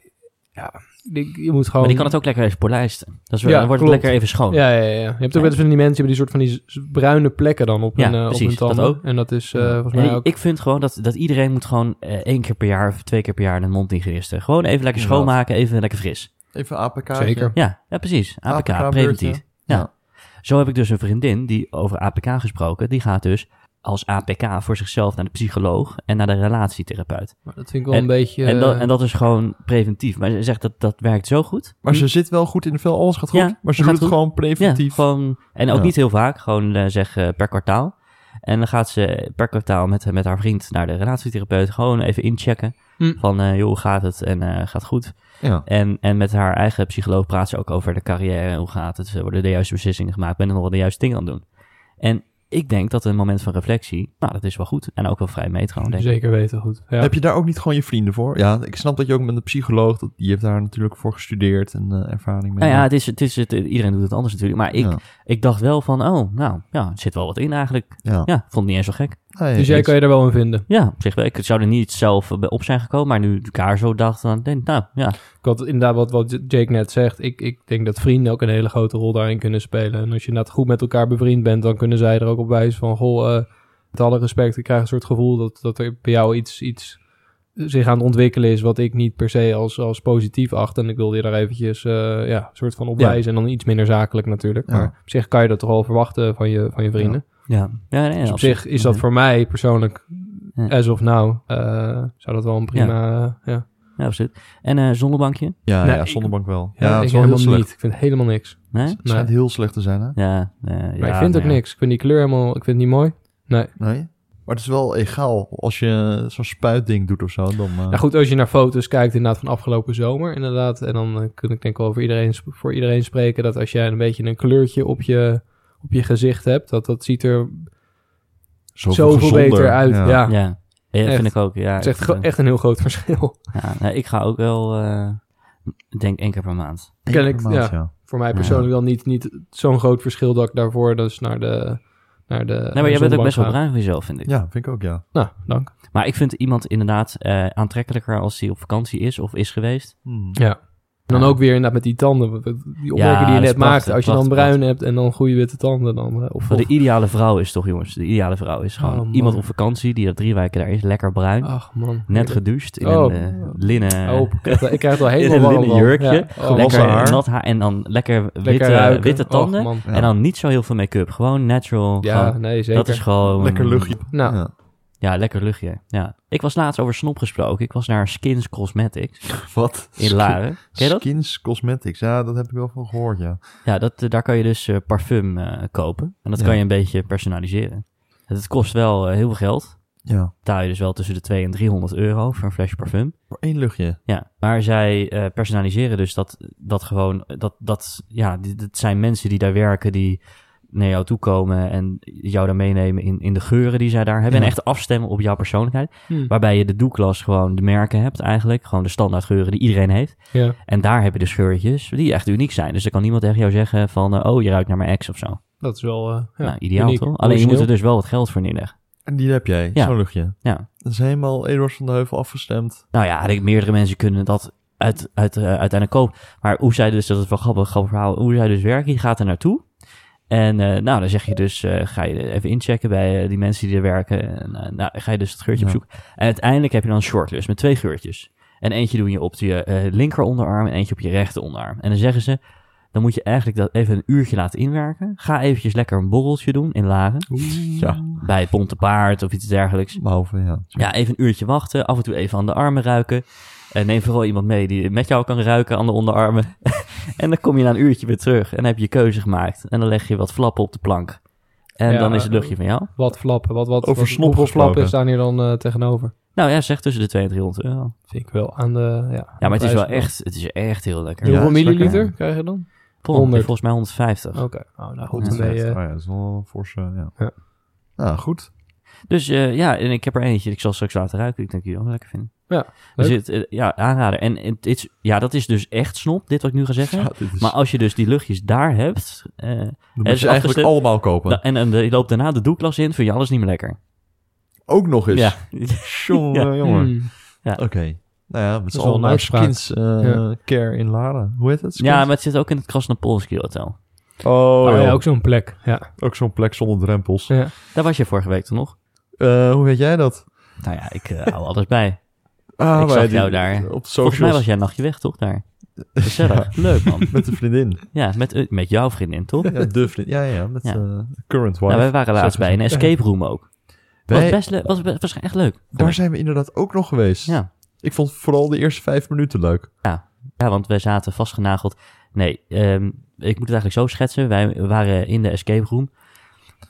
[SPEAKER 3] ja, die- je moet gewoon...
[SPEAKER 1] Maar die kan het ook lekker even polijsten. Dat is wel,
[SPEAKER 3] Oh. Ja,
[SPEAKER 1] dan wordt het
[SPEAKER 3] klopt.
[SPEAKER 1] lekker even schoon.
[SPEAKER 3] Ja, ja, ja. Je hebt ook
[SPEAKER 1] Ja.
[SPEAKER 3] wel eens van die mensen die hebben die soort van die z- bruine plekken dan op
[SPEAKER 1] Ja,
[SPEAKER 3] hun, eh, op
[SPEAKER 1] precies,
[SPEAKER 3] hun tanden.
[SPEAKER 1] dat ook.
[SPEAKER 3] En dat is eh, volgens
[SPEAKER 1] En
[SPEAKER 3] mij
[SPEAKER 1] ik-
[SPEAKER 3] ook...
[SPEAKER 1] Ik vind gewoon dat, dat iedereen moet gewoon eh, één keer per jaar of twee keer per jaar een mondhygiëniste. Gewoon even lekker
[SPEAKER 2] Inderdaad.
[SPEAKER 1] schoonmaken, even lekker fris.
[SPEAKER 2] Even APK.
[SPEAKER 3] Zeker.
[SPEAKER 1] Ja, ja precies. APK,
[SPEAKER 2] APK
[SPEAKER 1] preventief.
[SPEAKER 2] beurtje.
[SPEAKER 1] Ja.
[SPEAKER 2] Ja.
[SPEAKER 1] Zo heb ik dus een vriendin die over APK gesproken, die gaat dus als APK voor zichzelf naar de psycholoog en naar de relatietherapeut.
[SPEAKER 3] Maar dat vind ik wel een beetje...
[SPEAKER 1] En, dat,
[SPEAKER 3] eh,
[SPEAKER 1] en dat is gewoon preventief. Maar ze zegt dat dat werkt zo goed.
[SPEAKER 2] Maar
[SPEAKER 3] Hm.
[SPEAKER 2] ze zit wel goed in de vel, alles gaat goed.
[SPEAKER 1] Ja,
[SPEAKER 2] maar ze
[SPEAKER 1] gaat
[SPEAKER 2] doet het
[SPEAKER 1] goed.
[SPEAKER 2] gewoon
[SPEAKER 1] Ja,
[SPEAKER 2] preventief.
[SPEAKER 1] gewoon, en ook
[SPEAKER 2] Ja.
[SPEAKER 1] niet heel vaak, gewoon eh, zeg eh, per kwartaal. En dan gaat ze per kwartaal met, met haar vriend naar de relatietherapeut gewoon even inchecken.
[SPEAKER 3] Hm.
[SPEAKER 1] Van, eh, joh, hoe gaat het? En eh, gaat goed.
[SPEAKER 2] Ja.
[SPEAKER 1] En, en met haar eigen psycholoog praat ze ook over de carrière. en Hoe gaat het? Worden de juiste beslissingen gemaakt? Ben ik nog wel de juiste dingen aan het doen? En ik denk dat een moment van reflectie, nou, dat is wel goed. En ook wel vrij metro, denk ik.
[SPEAKER 3] eh, Zeker weten, goed. Ja.
[SPEAKER 2] Heb je daar ook niet gewoon je vrienden voor? Ja, ik snap dat je ook met een psycholoog, dat, die heeft daar natuurlijk voor gestudeerd en eh, ervaring mee.
[SPEAKER 1] Nou ja, het is, het is, het, iedereen doet het anders natuurlijk. Maar ik,
[SPEAKER 2] Ja.
[SPEAKER 1] ik dacht wel van, oh, nou, ja, er zit wel wat in eigenlijk.
[SPEAKER 2] Ja.
[SPEAKER 1] Ja, vond het niet eens zo gek.
[SPEAKER 2] Ah, ja,
[SPEAKER 3] dus jij
[SPEAKER 2] iets.
[SPEAKER 3] kan je er wel in vinden.
[SPEAKER 1] Ja, op zich wel. Ik zou er niet zelf eh, op zijn gekomen. Maar nu ik haar zo dacht, dan denk ik, nou, ja.
[SPEAKER 3] Ik had inderdaad wat, wat Jake net zegt. Ik, ik denk dat vrienden ook een hele grote rol daarin kunnen spelen. En als je inderdaad goed met elkaar bevriend bent, dan kunnen zij er ook op wijzen van... Goh, eh, met alle respect, ik krijg een soort gevoel dat, dat er bij jou iets, iets zich aan het ontwikkelen is... wat ik niet per se als, als positief acht. En ik wilde je daar eventjes eh ja, soort van op
[SPEAKER 2] Ja.
[SPEAKER 3] wijzen. En dan iets minder zakelijk natuurlijk.
[SPEAKER 2] Ja.
[SPEAKER 3] Maar op zich kan je dat toch wel verwachten van je, van je vrienden.
[SPEAKER 1] Ja, ja nee,
[SPEAKER 3] Dus op zich is dat voor mij persoonlijk...
[SPEAKER 1] Ja.
[SPEAKER 3] As of nou, eh, zou dat wel een prima... eh, ja.
[SPEAKER 1] Ja, absoluut. En eh zonnebankje?
[SPEAKER 2] Ja,
[SPEAKER 3] Nee,
[SPEAKER 2] ja,
[SPEAKER 3] ik-
[SPEAKER 2] zonnebank wel.
[SPEAKER 3] Ja,
[SPEAKER 2] Ja, het
[SPEAKER 3] ik
[SPEAKER 2] is wel heel
[SPEAKER 3] helemaal
[SPEAKER 2] slecht.
[SPEAKER 3] niet. Ik vind helemaal niks.
[SPEAKER 1] Nee?
[SPEAKER 2] Het schijnt
[SPEAKER 3] Nee.
[SPEAKER 2] heel slecht te zijn, hè?
[SPEAKER 1] Ja, eh,
[SPEAKER 3] Maar
[SPEAKER 1] ja,
[SPEAKER 3] ik vind ook
[SPEAKER 1] nee.
[SPEAKER 3] niks. Ik vind die kleur helemaal... Ik vind het niet mooi. Nee.
[SPEAKER 2] Nee. Maar het is wel egaal als je zo'n spuitding doet of zo. Dan,
[SPEAKER 1] Ah.
[SPEAKER 2] eh,
[SPEAKER 3] Nou goed, als je naar foto's kijkt inderdaad van afgelopen zomer inderdaad. En dan eh, kun ik denk wel voor iedereen, sp- voor iedereen spreken dat als jij een beetje een kleurtje op je, op je gezicht hebt, dat dat ziet er zoveel,
[SPEAKER 2] gezonder.
[SPEAKER 3] beter uit. Ja.
[SPEAKER 1] Ja, ja
[SPEAKER 3] Echt.
[SPEAKER 1] vind ik ook. Ja,
[SPEAKER 3] Het is echt,
[SPEAKER 1] ik,
[SPEAKER 3] gro-
[SPEAKER 1] eh,
[SPEAKER 3] echt een heel groot verschil.
[SPEAKER 1] ja, nou, ik ga ook wel, eh, ik denk één keer per maand.
[SPEAKER 2] Eén
[SPEAKER 3] Ken
[SPEAKER 2] per
[SPEAKER 3] ik,
[SPEAKER 2] maand,
[SPEAKER 3] ja.
[SPEAKER 2] ja.
[SPEAKER 3] Voor mij persoonlijk dan niet, niet zo'n groot verschil dat ik daarvoor dus naar de... Naar de
[SPEAKER 1] Nee, maar jij bent ook best wel
[SPEAKER 3] bruin.
[SPEAKER 1] bruin voor jezelf, vind ik.
[SPEAKER 2] Ja, vind ik ook, ja.
[SPEAKER 3] Nou, dank.
[SPEAKER 1] Maar ik vind iemand inderdaad eh, aantrekkelijker als die op vakantie is of is geweest.
[SPEAKER 2] Hmm.
[SPEAKER 3] Ja. En dan
[SPEAKER 1] Ja.
[SPEAKER 3] ook weer inderdaad met die tanden. wat- wat- Die opmerking die je
[SPEAKER 1] dat is
[SPEAKER 3] net maakte.
[SPEAKER 1] prachtig,
[SPEAKER 3] Als je dan
[SPEAKER 1] prachtig,
[SPEAKER 3] bruin hebt en dan goede witte tanden. Dan, eh, of,
[SPEAKER 1] Wat
[SPEAKER 3] of-
[SPEAKER 1] de ideale vrouw is toch, jongens? De ideale vrouw is
[SPEAKER 3] Oh,
[SPEAKER 1] gewoon
[SPEAKER 3] man.
[SPEAKER 1] iemand op vakantie die er drie weken daar is, lekker bruin.
[SPEAKER 3] Ach man.
[SPEAKER 1] Net gedoucht in
[SPEAKER 3] Oh.
[SPEAKER 1] een eh, linnen,
[SPEAKER 3] Oh, ik krijg, ik krijg het al
[SPEAKER 1] in
[SPEAKER 3] helemaal
[SPEAKER 1] een
[SPEAKER 3] warm
[SPEAKER 1] linnen
[SPEAKER 3] van.
[SPEAKER 1] jurkje.
[SPEAKER 3] Ja. Oh,
[SPEAKER 1] lekker
[SPEAKER 2] Wassen haar.
[SPEAKER 1] nat haar en dan lekker witte,
[SPEAKER 3] lekker ruiken.
[SPEAKER 1] witte
[SPEAKER 3] Och,
[SPEAKER 1] tanden.
[SPEAKER 3] man.
[SPEAKER 2] Ja.
[SPEAKER 1] En dan niet zo heel veel make-up. Gewoon natural.
[SPEAKER 3] Ja,
[SPEAKER 1] gewoon-
[SPEAKER 3] nee, zeker.
[SPEAKER 1] dat is gewoon...
[SPEAKER 2] Lekker luchtje.
[SPEAKER 3] Nou,
[SPEAKER 2] Ja.
[SPEAKER 1] Ja, lekker luchtje. Ja. Ik was laatst over snop gesproken. Ik was naar Skins Cosmetics
[SPEAKER 2] Wat?
[SPEAKER 1] in Laren. Ken je dat?
[SPEAKER 2] Skins Cosmetics. Ja, dat heb ik wel van gehoord, ja.
[SPEAKER 1] Ja, dat, eh, daar kan je dus eh, parfum eh, kopen. En dat
[SPEAKER 2] Ja.
[SPEAKER 1] kan je een beetje personaliseren. Het kost wel eh, heel veel geld.
[SPEAKER 2] Ja,
[SPEAKER 1] Betaal je dus wel tussen de 200 en 300 euro voor een flesje parfum.
[SPEAKER 2] voor één luchtje.
[SPEAKER 1] Ja, maar zij eh, personaliseren dus dat, dat gewoon, eh, dat, dat, ja, dit- dit zijn mensen die daar werken, die naar jou toe komen en jou daar meenemen in, in de geuren die zij daar hebben. En
[SPEAKER 2] Ja.
[SPEAKER 1] echt afstemmen op jouw persoonlijkheid.
[SPEAKER 3] Hmm.
[SPEAKER 1] Waarbij je de doeklas gewoon de merken hebt eigenlijk. Gewoon de standaard geuren die iedereen heeft.
[SPEAKER 3] Ja.
[SPEAKER 1] En daar heb je dus geurtjes die echt uniek zijn. Dus er kan niemand tegen jou zeggen van, eh, oh, je ruikt naar mijn ex of zo.
[SPEAKER 3] Dat is wel eh, ja,
[SPEAKER 1] nou, ideaal
[SPEAKER 3] uniek,
[SPEAKER 1] toch? Alleen je moet
[SPEAKER 3] origineel.
[SPEAKER 1] er dus wel wat geld voor neerleggen.
[SPEAKER 2] En die heb jij,
[SPEAKER 1] Ja.
[SPEAKER 2] zo'n luchtje.
[SPEAKER 1] Ja.
[SPEAKER 2] Dat is helemaal Eduard van de Heuvel afgestemd.
[SPEAKER 1] Nou ja, ik denk meerdere mensen kunnen dat uit, uit, eh, uiteindelijk kopen. Maar hoe zij dus, dat is wel grappig, grappig verhaal, hoe zij dus werken, je gaat er naartoe. En eh, nou, dan zeg je dus, eh, ga je even inchecken bij eh, die mensen die er werken. En eh, nou, ga je dus het geurtje
[SPEAKER 2] Ja.
[SPEAKER 1] opzoeken. En uiteindelijk heb je dan een shortlist met twee geurtjes. En eentje doe je op je eh, linker onderarm en eentje op je rechter onderarm. En dan zeggen ze, dan moet je eigenlijk dat even een uurtje laten inwerken. Ga eventjes lekker een borreltje doen in Laren.
[SPEAKER 2] Ja,
[SPEAKER 1] Bij het Bonte Paard of iets dergelijks.
[SPEAKER 2] behalve, ja.
[SPEAKER 1] Ja, even een uurtje wachten. Af en toe even aan de armen ruiken. En neem vooral iemand mee die met jou kan ruiken aan de onderarmen. en dan kom je na een uurtje weer terug. En dan heb je je keuze gemaakt. En dan leg je wat flappen op de plank. En
[SPEAKER 3] Ja,
[SPEAKER 1] dan is het luchtje van jou.
[SPEAKER 3] Wat flappen, wat, wat,
[SPEAKER 2] Over
[SPEAKER 3] wat-
[SPEAKER 2] snop
[SPEAKER 3] hoeveel
[SPEAKER 2] gesproken.
[SPEAKER 3] flappen staan hier dan eh, tegenover?
[SPEAKER 1] Nou ja, zeg tussen de 200 en 300 euro.
[SPEAKER 3] Vind ik wel aan de... Ja,
[SPEAKER 1] Ja, maar het is wel
[SPEAKER 3] prijs-
[SPEAKER 1] echt, het is echt heel lekker.
[SPEAKER 2] Ja,
[SPEAKER 3] Hoeveel
[SPEAKER 2] is lekker.
[SPEAKER 3] milliliter krijg je dan?
[SPEAKER 1] Pond,
[SPEAKER 3] 100.
[SPEAKER 1] Volgens mij 150.
[SPEAKER 3] Oké, oh, nou goed.
[SPEAKER 1] Ja,
[SPEAKER 3] dan ben je-
[SPEAKER 2] Oh ja, dat is wel een forse, ja.
[SPEAKER 3] Ja.
[SPEAKER 2] Nou, goed.
[SPEAKER 1] Dus eh, ja, en ik heb er eentje. Ik zal straks laten ruiken. Ik denk dat jullie ook lekker vinden.
[SPEAKER 3] Ja,
[SPEAKER 1] Dus
[SPEAKER 3] leuk.
[SPEAKER 1] het, eh, ja, aanrader. En het, is, ja, dat is dus echt snop, dit wat ik nu ga zeggen.
[SPEAKER 2] Ja, dit is,
[SPEAKER 1] Maar als je dus die luchtjes daar hebt, eh,
[SPEAKER 2] dat
[SPEAKER 1] het
[SPEAKER 2] moet
[SPEAKER 1] is
[SPEAKER 2] je eigenlijk
[SPEAKER 1] afgestemd- Nou.
[SPEAKER 2] allemaal kopen.
[SPEAKER 1] Da- en, en de- je loopt daarna de doeklas in, vind je alles niet meer lekker.
[SPEAKER 2] Ook nog eens.
[SPEAKER 1] Ja. Mm.
[SPEAKER 2] Jongen, jongen.
[SPEAKER 3] Hmm.
[SPEAKER 2] Oké. Nou ja, met z'n
[SPEAKER 3] is wel
[SPEAKER 2] allen
[SPEAKER 3] een
[SPEAKER 2] naar
[SPEAKER 3] uitspraak.
[SPEAKER 2] Skins eh,
[SPEAKER 3] Ja.
[SPEAKER 2] Care in Laren. Hoe heet het? Skins?
[SPEAKER 1] ja, maar het zit ook in het Krasnopolski Hotel.
[SPEAKER 2] Oh,
[SPEAKER 3] Oh,
[SPEAKER 2] ja.
[SPEAKER 3] ja,
[SPEAKER 2] ook,
[SPEAKER 3] ook zo'n plek. Ja.
[SPEAKER 2] zo'n plek zonder drempels.
[SPEAKER 3] ja.
[SPEAKER 1] Daar was je vorige week toch nog?
[SPEAKER 2] Eh, hoe weet jij dat?
[SPEAKER 1] Nou ja, ik eh, hou alles bij.
[SPEAKER 2] Ah,
[SPEAKER 1] Ik
[SPEAKER 2] wij
[SPEAKER 1] zag
[SPEAKER 2] die-
[SPEAKER 1] jou daar.
[SPEAKER 2] Op de
[SPEAKER 1] Volgens mij
[SPEAKER 2] socials
[SPEAKER 1] was jij een nachtje weg, toch? Daar. Gezellig. Leuk, man.
[SPEAKER 2] met de vriendin.
[SPEAKER 1] Ja, met, eh, met jouw vriendin, toch?
[SPEAKER 2] ja, de vriendin. Ja, ja, met
[SPEAKER 1] Ja.
[SPEAKER 2] eh, current wife.
[SPEAKER 1] Nou, wij waren laatst bij een escape room ook. Was
[SPEAKER 2] Wij-
[SPEAKER 1] best le- was, be- was echt leuk.
[SPEAKER 2] daar zijn we inderdaad ook nog geweest.
[SPEAKER 1] Ja.
[SPEAKER 2] Ik vond vooral de eerste vijf minuten leuk.
[SPEAKER 1] Ja, want wij zaten vastgenageld. Nee, ehm, ik moet het eigenlijk zo schetsen. Wij waren in de escape room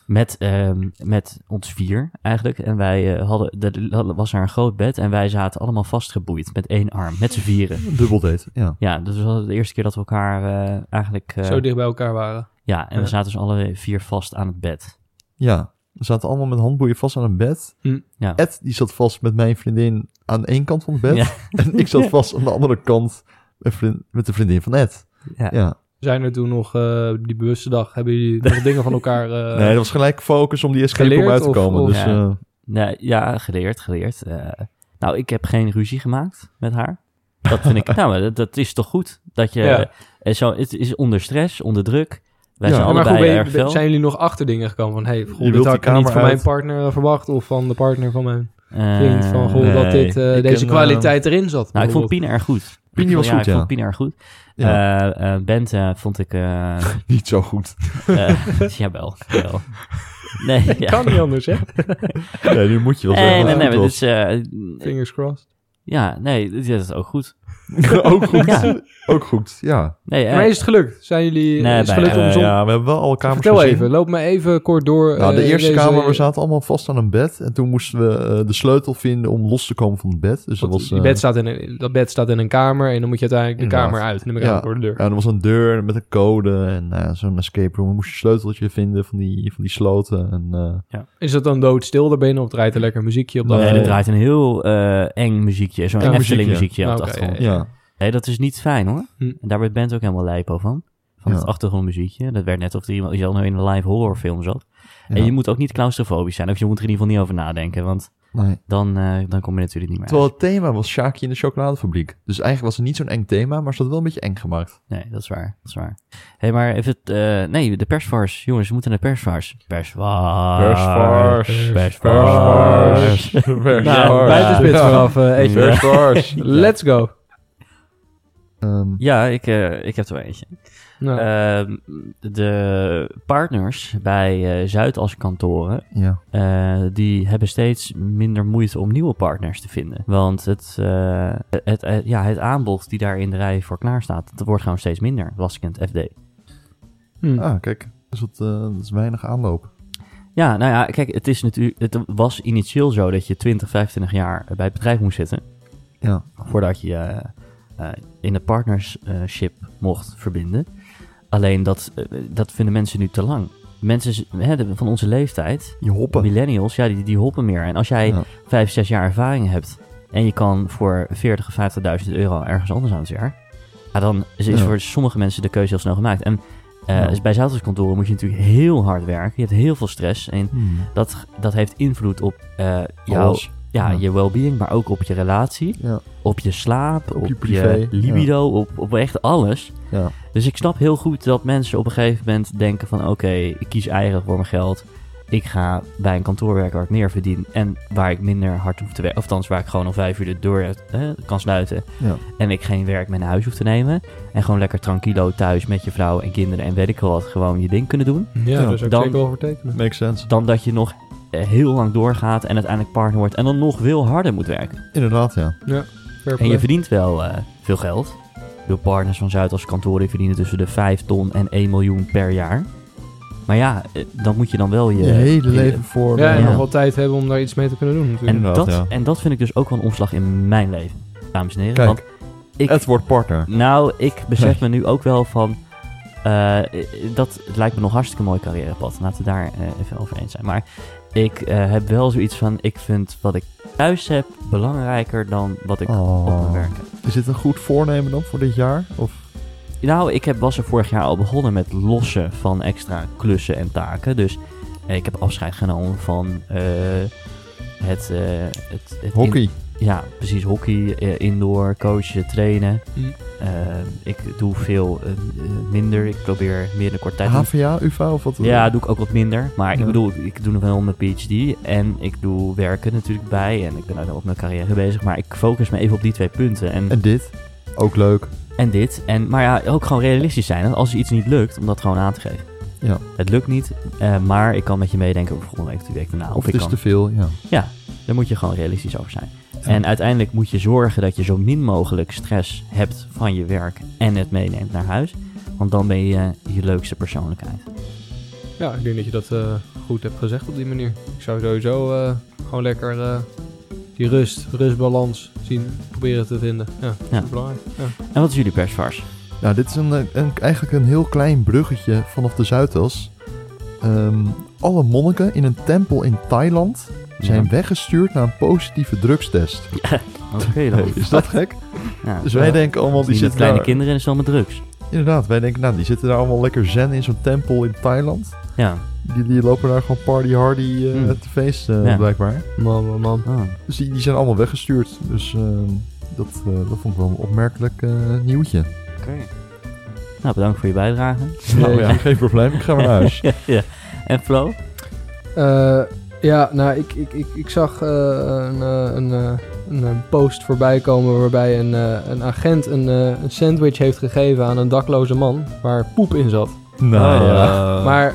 [SPEAKER 1] met, ehm, met ons vier eigenlijk. En wij eh, hadden, er was er een groot bed en wij zaten allemaal vastgeboeid met één arm, met z'n vieren.
[SPEAKER 2] Een dubbeldate, ja.
[SPEAKER 1] Ja, dus we hadden de eerste keer dat we elkaar eh, eigenlijk... eh,
[SPEAKER 3] Zo dicht bij elkaar waren.
[SPEAKER 1] ja, en we zaten dus alle vier vast aan het bed.
[SPEAKER 2] Ja, we zaten allemaal met handboeien vast aan een bed.
[SPEAKER 3] Hm.
[SPEAKER 1] Ja.
[SPEAKER 2] Ed, die zat vast met mijn vriendin aan één kant van het bed.
[SPEAKER 1] Ja.
[SPEAKER 2] En ik zat vast aan de andere kant met, vriend- met de vriendin van Ed.
[SPEAKER 1] Ja.
[SPEAKER 2] ja.
[SPEAKER 3] Zijn er toen nog, eh, die bewuste dag, hebben jullie nog dingen van elkaar... eh,
[SPEAKER 2] Nee, dat was gelijk focus om die escape room
[SPEAKER 3] Geleerd
[SPEAKER 2] uit te
[SPEAKER 3] of-
[SPEAKER 2] komen.
[SPEAKER 3] of-
[SPEAKER 2] dus
[SPEAKER 1] Ja.
[SPEAKER 2] eh,
[SPEAKER 1] Nee, ja, geleerd, geleerd. eh. nou, ik heb geen ruzie gemaakt met haar. Dat vind ik... nou, maar dat, dat is toch goed? Dat je...
[SPEAKER 3] Ja.
[SPEAKER 1] eh, zo, het is onder stress, onder druk. Wij
[SPEAKER 2] Ja.
[SPEAKER 1] zijn
[SPEAKER 2] Ja,
[SPEAKER 3] Ja, maar
[SPEAKER 1] allebei
[SPEAKER 3] goed, ben je-
[SPEAKER 1] erg fel.
[SPEAKER 3] zijn jullie nog achter dingen gekomen van... hey, goh,
[SPEAKER 2] wilt
[SPEAKER 3] dit
[SPEAKER 2] die
[SPEAKER 3] had ik niet
[SPEAKER 2] kamer
[SPEAKER 3] van
[SPEAKER 2] uit.
[SPEAKER 3] mijn partner eh, verwacht... of van de partner van mijn
[SPEAKER 1] Eh,
[SPEAKER 3] vriend... van goh,
[SPEAKER 2] nee.
[SPEAKER 3] dat dit, eh,
[SPEAKER 2] Ik
[SPEAKER 3] deze
[SPEAKER 2] ken,
[SPEAKER 3] kwaliteit erin zat.
[SPEAKER 1] Nou, ik vond
[SPEAKER 3] bijvoorbeeld.
[SPEAKER 1] Pien erg goed.
[SPEAKER 2] Pien
[SPEAKER 1] Ik
[SPEAKER 2] was
[SPEAKER 1] vond-
[SPEAKER 2] goed,
[SPEAKER 1] Ik
[SPEAKER 2] ja.
[SPEAKER 1] vond Pien erg goed.
[SPEAKER 2] ja,
[SPEAKER 1] Eh, eh, Bente vond ik... eh
[SPEAKER 2] niet zo goed.
[SPEAKER 1] eh, jawel, jawel. Nee, ja.
[SPEAKER 3] Kan niet anders, hè?
[SPEAKER 2] Nee, nu moet je wel
[SPEAKER 1] Nee,
[SPEAKER 2] zeggen.
[SPEAKER 1] nee, nee,
[SPEAKER 2] dat
[SPEAKER 1] maar
[SPEAKER 2] het
[SPEAKER 1] dus, eh,
[SPEAKER 3] Fingers crossed.
[SPEAKER 1] ja, nee, dit is ook goed.
[SPEAKER 2] was. ook goed.
[SPEAKER 1] Ja.
[SPEAKER 2] Ook goed, ja.
[SPEAKER 1] Nee, eh,
[SPEAKER 3] Maar is het gelukt? Zijn jullie...
[SPEAKER 1] Nee,
[SPEAKER 3] is het
[SPEAKER 1] bij-
[SPEAKER 3] gelukt om
[SPEAKER 2] Eh,
[SPEAKER 3] zon...
[SPEAKER 2] ja, we hebben wel alle kamers
[SPEAKER 3] Vertel
[SPEAKER 2] gezien.
[SPEAKER 3] even, loop me even kort door.
[SPEAKER 2] Nou, de
[SPEAKER 3] eh,
[SPEAKER 2] eerste
[SPEAKER 3] deze-
[SPEAKER 2] kamer, we zaten allemaal vast aan een bed. En toen moesten we eh, de sleutel vinden om los te komen van het bed. Dus dat
[SPEAKER 3] Want
[SPEAKER 2] was...
[SPEAKER 3] die
[SPEAKER 2] eh,
[SPEAKER 3] bed staat in een, dat bed staat in een kamer en dan moet je uiteindelijk de
[SPEAKER 2] Inderdaad.
[SPEAKER 3] kamer uit. En dan ben ik
[SPEAKER 2] Ja.
[SPEAKER 3] eigenlijk door de deur.
[SPEAKER 2] ja, er was een deur met een code en nou ja, zo'n escape room. Dan moest je een sleuteltje vinden van die, van die sloten. En, eh,
[SPEAKER 3] Is dat dan doodstil daarbinnen of draait er lekker muziekje op? de
[SPEAKER 2] Nee,
[SPEAKER 1] nee,
[SPEAKER 3] achtergrond?
[SPEAKER 1] er draait een heel eh, eng muziekje. Zo'n
[SPEAKER 3] Ja,
[SPEAKER 1] Efteling muziekje
[SPEAKER 2] muziekje.
[SPEAKER 1] op de
[SPEAKER 3] Oké,
[SPEAKER 1] achtergrond.
[SPEAKER 3] ja,
[SPEAKER 2] ja.
[SPEAKER 1] Nee, dat is niet fijn hoor.
[SPEAKER 3] Hm.
[SPEAKER 1] En daar werd Bent ook helemaal lijpo van. Van
[SPEAKER 2] Ja.
[SPEAKER 1] het achtergrondmuziekje. Dat werd net of er iemand die al nou in een live horrorfilm zat.
[SPEAKER 2] Ja.
[SPEAKER 1] En je moet ook niet claustrofobisch zijn. Of je moet er in ieder geval niet over nadenken. Want
[SPEAKER 2] Nee.
[SPEAKER 1] dan, eh, dan kom je natuurlijk niet meer
[SPEAKER 2] Terwijl het thema was Sjaakje in de chocoladefabriek. Dus eigenlijk was het niet zo'n eng thema, maar ze had wel een beetje eng gemaakt.
[SPEAKER 1] Nee, dat is waar. Dat is waar. Hé, hey, maar even... het, eh, nee, de persvars. Jongens, we moeten naar de persvars. Persvars. Persvars.
[SPEAKER 3] Persvars. Ah. Nou,
[SPEAKER 1] Ja.
[SPEAKER 3] bijt de spits
[SPEAKER 2] Ja.
[SPEAKER 3] vanaf, eh, Eetje.
[SPEAKER 1] Ja.
[SPEAKER 2] Persvars.
[SPEAKER 3] Let's go.
[SPEAKER 2] Ehm,
[SPEAKER 1] Ja, ik, eh, ik heb er wel eentje.
[SPEAKER 3] Nou,
[SPEAKER 1] Ehm, de partners bij eh Zuidas kantoren...
[SPEAKER 2] ja.
[SPEAKER 1] eh, die hebben steeds minder moeite om nieuwe partners te vinden. Want het, eh, het, eh, ja, het aanbod die daar in de rij voor klaar staat... dat wordt gewoon steeds minder, las ik in het FD.
[SPEAKER 3] hm.
[SPEAKER 2] Ah, kijk. Dus dat, eh, dat is weinig aanloop.
[SPEAKER 1] Ja, nou ja, kijk, het, is natuurlijk, het was initieel zo dat je 20, 25 jaar bij het bedrijf moest zitten.
[SPEAKER 2] Ja.
[SPEAKER 1] Voordat je eh, eh, in een partnership mocht verbinden. Alleen dat, eh, dat vinden mensen nu te lang. Mensen z- hè, de- van onze leeftijd,
[SPEAKER 2] Je hoppen.
[SPEAKER 1] millennials, ja, die, die hoppen meer. En als jij
[SPEAKER 2] Ja.
[SPEAKER 1] 5, 6 jaar ervaring hebt en je kan voor 40 of 50.000 euro ergens anders aan het jaar, ja, dan is, is
[SPEAKER 2] Ja.
[SPEAKER 1] voor sommige mensen de keuze heel snel gemaakt. En eh,
[SPEAKER 2] Ja.
[SPEAKER 1] dus bij Zuidaskantoren moet je natuurlijk heel hard werken. Je hebt heel veel stress en
[SPEAKER 2] Hmm.
[SPEAKER 1] dat, dat heeft invloed op eh jouw,
[SPEAKER 2] Alles.
[SPEAKER 1] ja,
[SPEAKER 2] Ja.
[SPEAKER 1] je well-being, maar ook op je relatie,
[SPEAKER 2] Ja.
[SPEAKER 1] op je slaap, op,
[SPEAKER 2] je
[SPEAKER 1] je,
[SPEAKER 2] privé,
[SPEAKER 1] libido, op, op echt alles.
[SPEAKER 2] Ja.
[SPEAKER 1] Dus ik snap heel goed dat mensen op een gegeven moment denken van... oké, ik kies eigen voor mijn geld. Ik ga bij een kantoor werken waar ik meer verdien... en waar ik minder hard hoef te werken. Of althans, waar ik gewoon om vijf uur de deur eh, kan sluiten...
[SPEAKER 2] Ja.
[SPEAKER 1] en ik geen werk mee naar huis hoef te nemen... en gewoon lekker tranquilo thuis met je vrouw en kinderen... en weet ik wel wat, gewoon je ding kunnen doen...
[SPEAKER 3] Ja,
[SPEAKER 2] Ja,
[SPEAKER 3] daar zou ik
[SPEAKER 1] dan-
[SPEAKER 3] zeker wel voor tekenen.
[SPEAKER 2] Makes sense.
[SPEAKER 1] dan dat je nog eh, heel lang doorgaat en uiteindelijk partner wordt... en dan nog veel harder moet werken.
[SPEAKER 2] Inderdaad, ja.
[SPEAKER 3] Fair
[SPEAKER 1] En je
[SPEAKER 3] play.
[SPEAKER 1] verdient wel eh, veel geld... De partners van Zuidas kantoren verdienen tussen de 5 ton en 1 miljoen per jaar. Maar ja, eh, dan moet je dan wel je...
[SPEAKER 2] Je hele
[SPEAKER 1] je-
[SPEAKER 2] leven voor.
[SPEAKER 3] Ja, en
[SPEAKER 1] Ja.
[SPEAKER 3] nog wel tijd hebben om daar iets mee te kunnen doen natuurlijk.
[SPEAKER 1] En
[SPEAKER 2] Inderdaad,
[SPEAKER 1] dat,
[SPEAKER 2] ja.
[SPEAKER 1] en dat vind ik dus ook wel een omslag in mijn leven, dames en heren.
[SPEAKER 2] Kijk.
[SPEAKER 1] Want ik,
[SPEAKER 2] Het wordt partner.
[SPEAKER 1] nou, ik besef me nu ook wel van... eh, dat het lijkt me nog hartstikke mooi carrièrepad. Laten we daar eh, even over eens zijn. Maar ik eh, heb wel zoiets van... Ik vind wat ik thuis heb belangrijker dan wat ik op mijn
[SPEAKER 2] Oh.
[SPEAKER 1] werk heb.
[SPEAKER 2] Is dit een goed voornemen dan voor dit jaar? Of?
[SPEAKER 1] Nou, ik heb, was er vorig jaar al begonnen met lossen van extra klussen en taken. Dus eh, ik heb afscheid genomen van eh, het, eh, het, het in-
[SPEAKER 2] Hockey.
[SPEAKER 1] Ja, precies. Hockey, eh, indoor, coachen, trainen.
[SPEAKER 3] Mm.
[SPEAKER 1] Eh, ik doe veel eh, eh, minder. Ik probeer meer in een korte tijd.
[SPEAKER 2] HVA, UvA of wat?
[SPEAKER 1] ja, doe ik ook wat minder. Maar ik
[SPEAKER 2] Ja.
[SPEAKER 1] bedoel, ik doe nog wel mijn PhD. En ik doe werken natuurlijk bij. En ik ben ook nog op mijn carrière bezig. Maar ik focus me even op die twee punten. En, en,
[SPEAKER 2] En dit? Ook leuk.
[SPEAKER 1] dit. En, maar ja, ook gewoon realistisch zijn. Want Als iets niet lukt, om dat gewoon aan te geven.
[SPEAKER 2] Ja.
[SPEAKER 1] Het lukt niet, eh, maar ik kan met je meedenken over volgende week of die week daarna. Of,
[SPEAKER 2] Of
[SPEAKER 1] ik
[SPEAKER 2] dus het is
[SPEAKER 1] kan.
[SPEAKER 2] te veel, ja.
[SPEAKER 1] Ja, daar moet je gewoon realistisch over zijn. En uiteindelijk moet je zorgen dat je zo min mogelijk stress hebt van je werk en het meeneemt naar huis. Want dan ben je je leukste persoonlijkheid.
[SPEAKER 3] Ja, ik denk dat je dat eh, goed hebt gezegd op die manier. Ik zou sowieso eh, gewoon lekker eh, die rust, rustbalans zien, proberen te vinden. Ja,
[SPEAKER 1] Ja.
[SPEAKER 3] dat is belangrijk. Ja.
[SPEAKER 1] En wat is jullie persvars?
[SPEAKER 2] Nou, dit is een, eh, een- eigenlijk een heel klein bruggetje vanaf de Zuidas. Ehm, alle monniken in een tempel in Thailand zijn
[SPEAKER 1] Ja.
[SPEAKER 2] weggestuurd naar een positieve drugstest.
[SPEAKER 1] Oké
[SPEAKER 2] Hey, is dat gek?
[SPEAKER 1] Ja.
[SPEAKER 2] Dus wij
[SPEAKER 3] Ja.
[SPEAKER 2] denken allemaal, die
[SPEAKER 1] Niet met
[SPEAKER 2] zitten
[SPEAKER 1] kleine
[SPEAKER 2] daar...
[SPEAKER 1] kinderen en zo met drugs.
[SPEAKER 2] Inderdaad, wij denken, nou, die zitten daar allemaal lekker zen in zo'n tempel in Thailand.
[SPEAKER 1] Ja.
[SPEAKER 2] Die, die lopen daar gewoon party hardy eh,
[SPEAKER 1] Hmm.
[SPEAKER 2] te feesten,
[SPEAKER 1] Ja.
[SPEAKER 2] blijkbaar.
[SPEAKER 3] Man, man, man.
[SPEAKER 1] Oh.
[SPEAKER 2] Dus die, die zijn allemaal weggestuurd. Dus ehm, dat, eh, dat vond ik wel een opmerkelijk eh, nieuwtje.
[SPEAKER 1] Oké. Nou, bedankt voor je bijdrage.
[SPEAKER 2] Nou ja, geen probleem. Ik ga maar naar huis.
[SPEAKER 1] ja. En Flo?
[SPEAKER 3] Eh, ja, nou, ik, ik, ik, ik zag eh, een, eh, een, eh, een, eh, post voorbij komen waarbij een, eh, een agent een, eh, een sandwich heeft gegeven aan een dakloze man waar poep in zat.
[SPEAKER 2] Nou
[SPEAKER 1] Oh,
[SPEAKER 2] ja.
[SPEAKER 1] eh,
[SPEAKER 3] Maar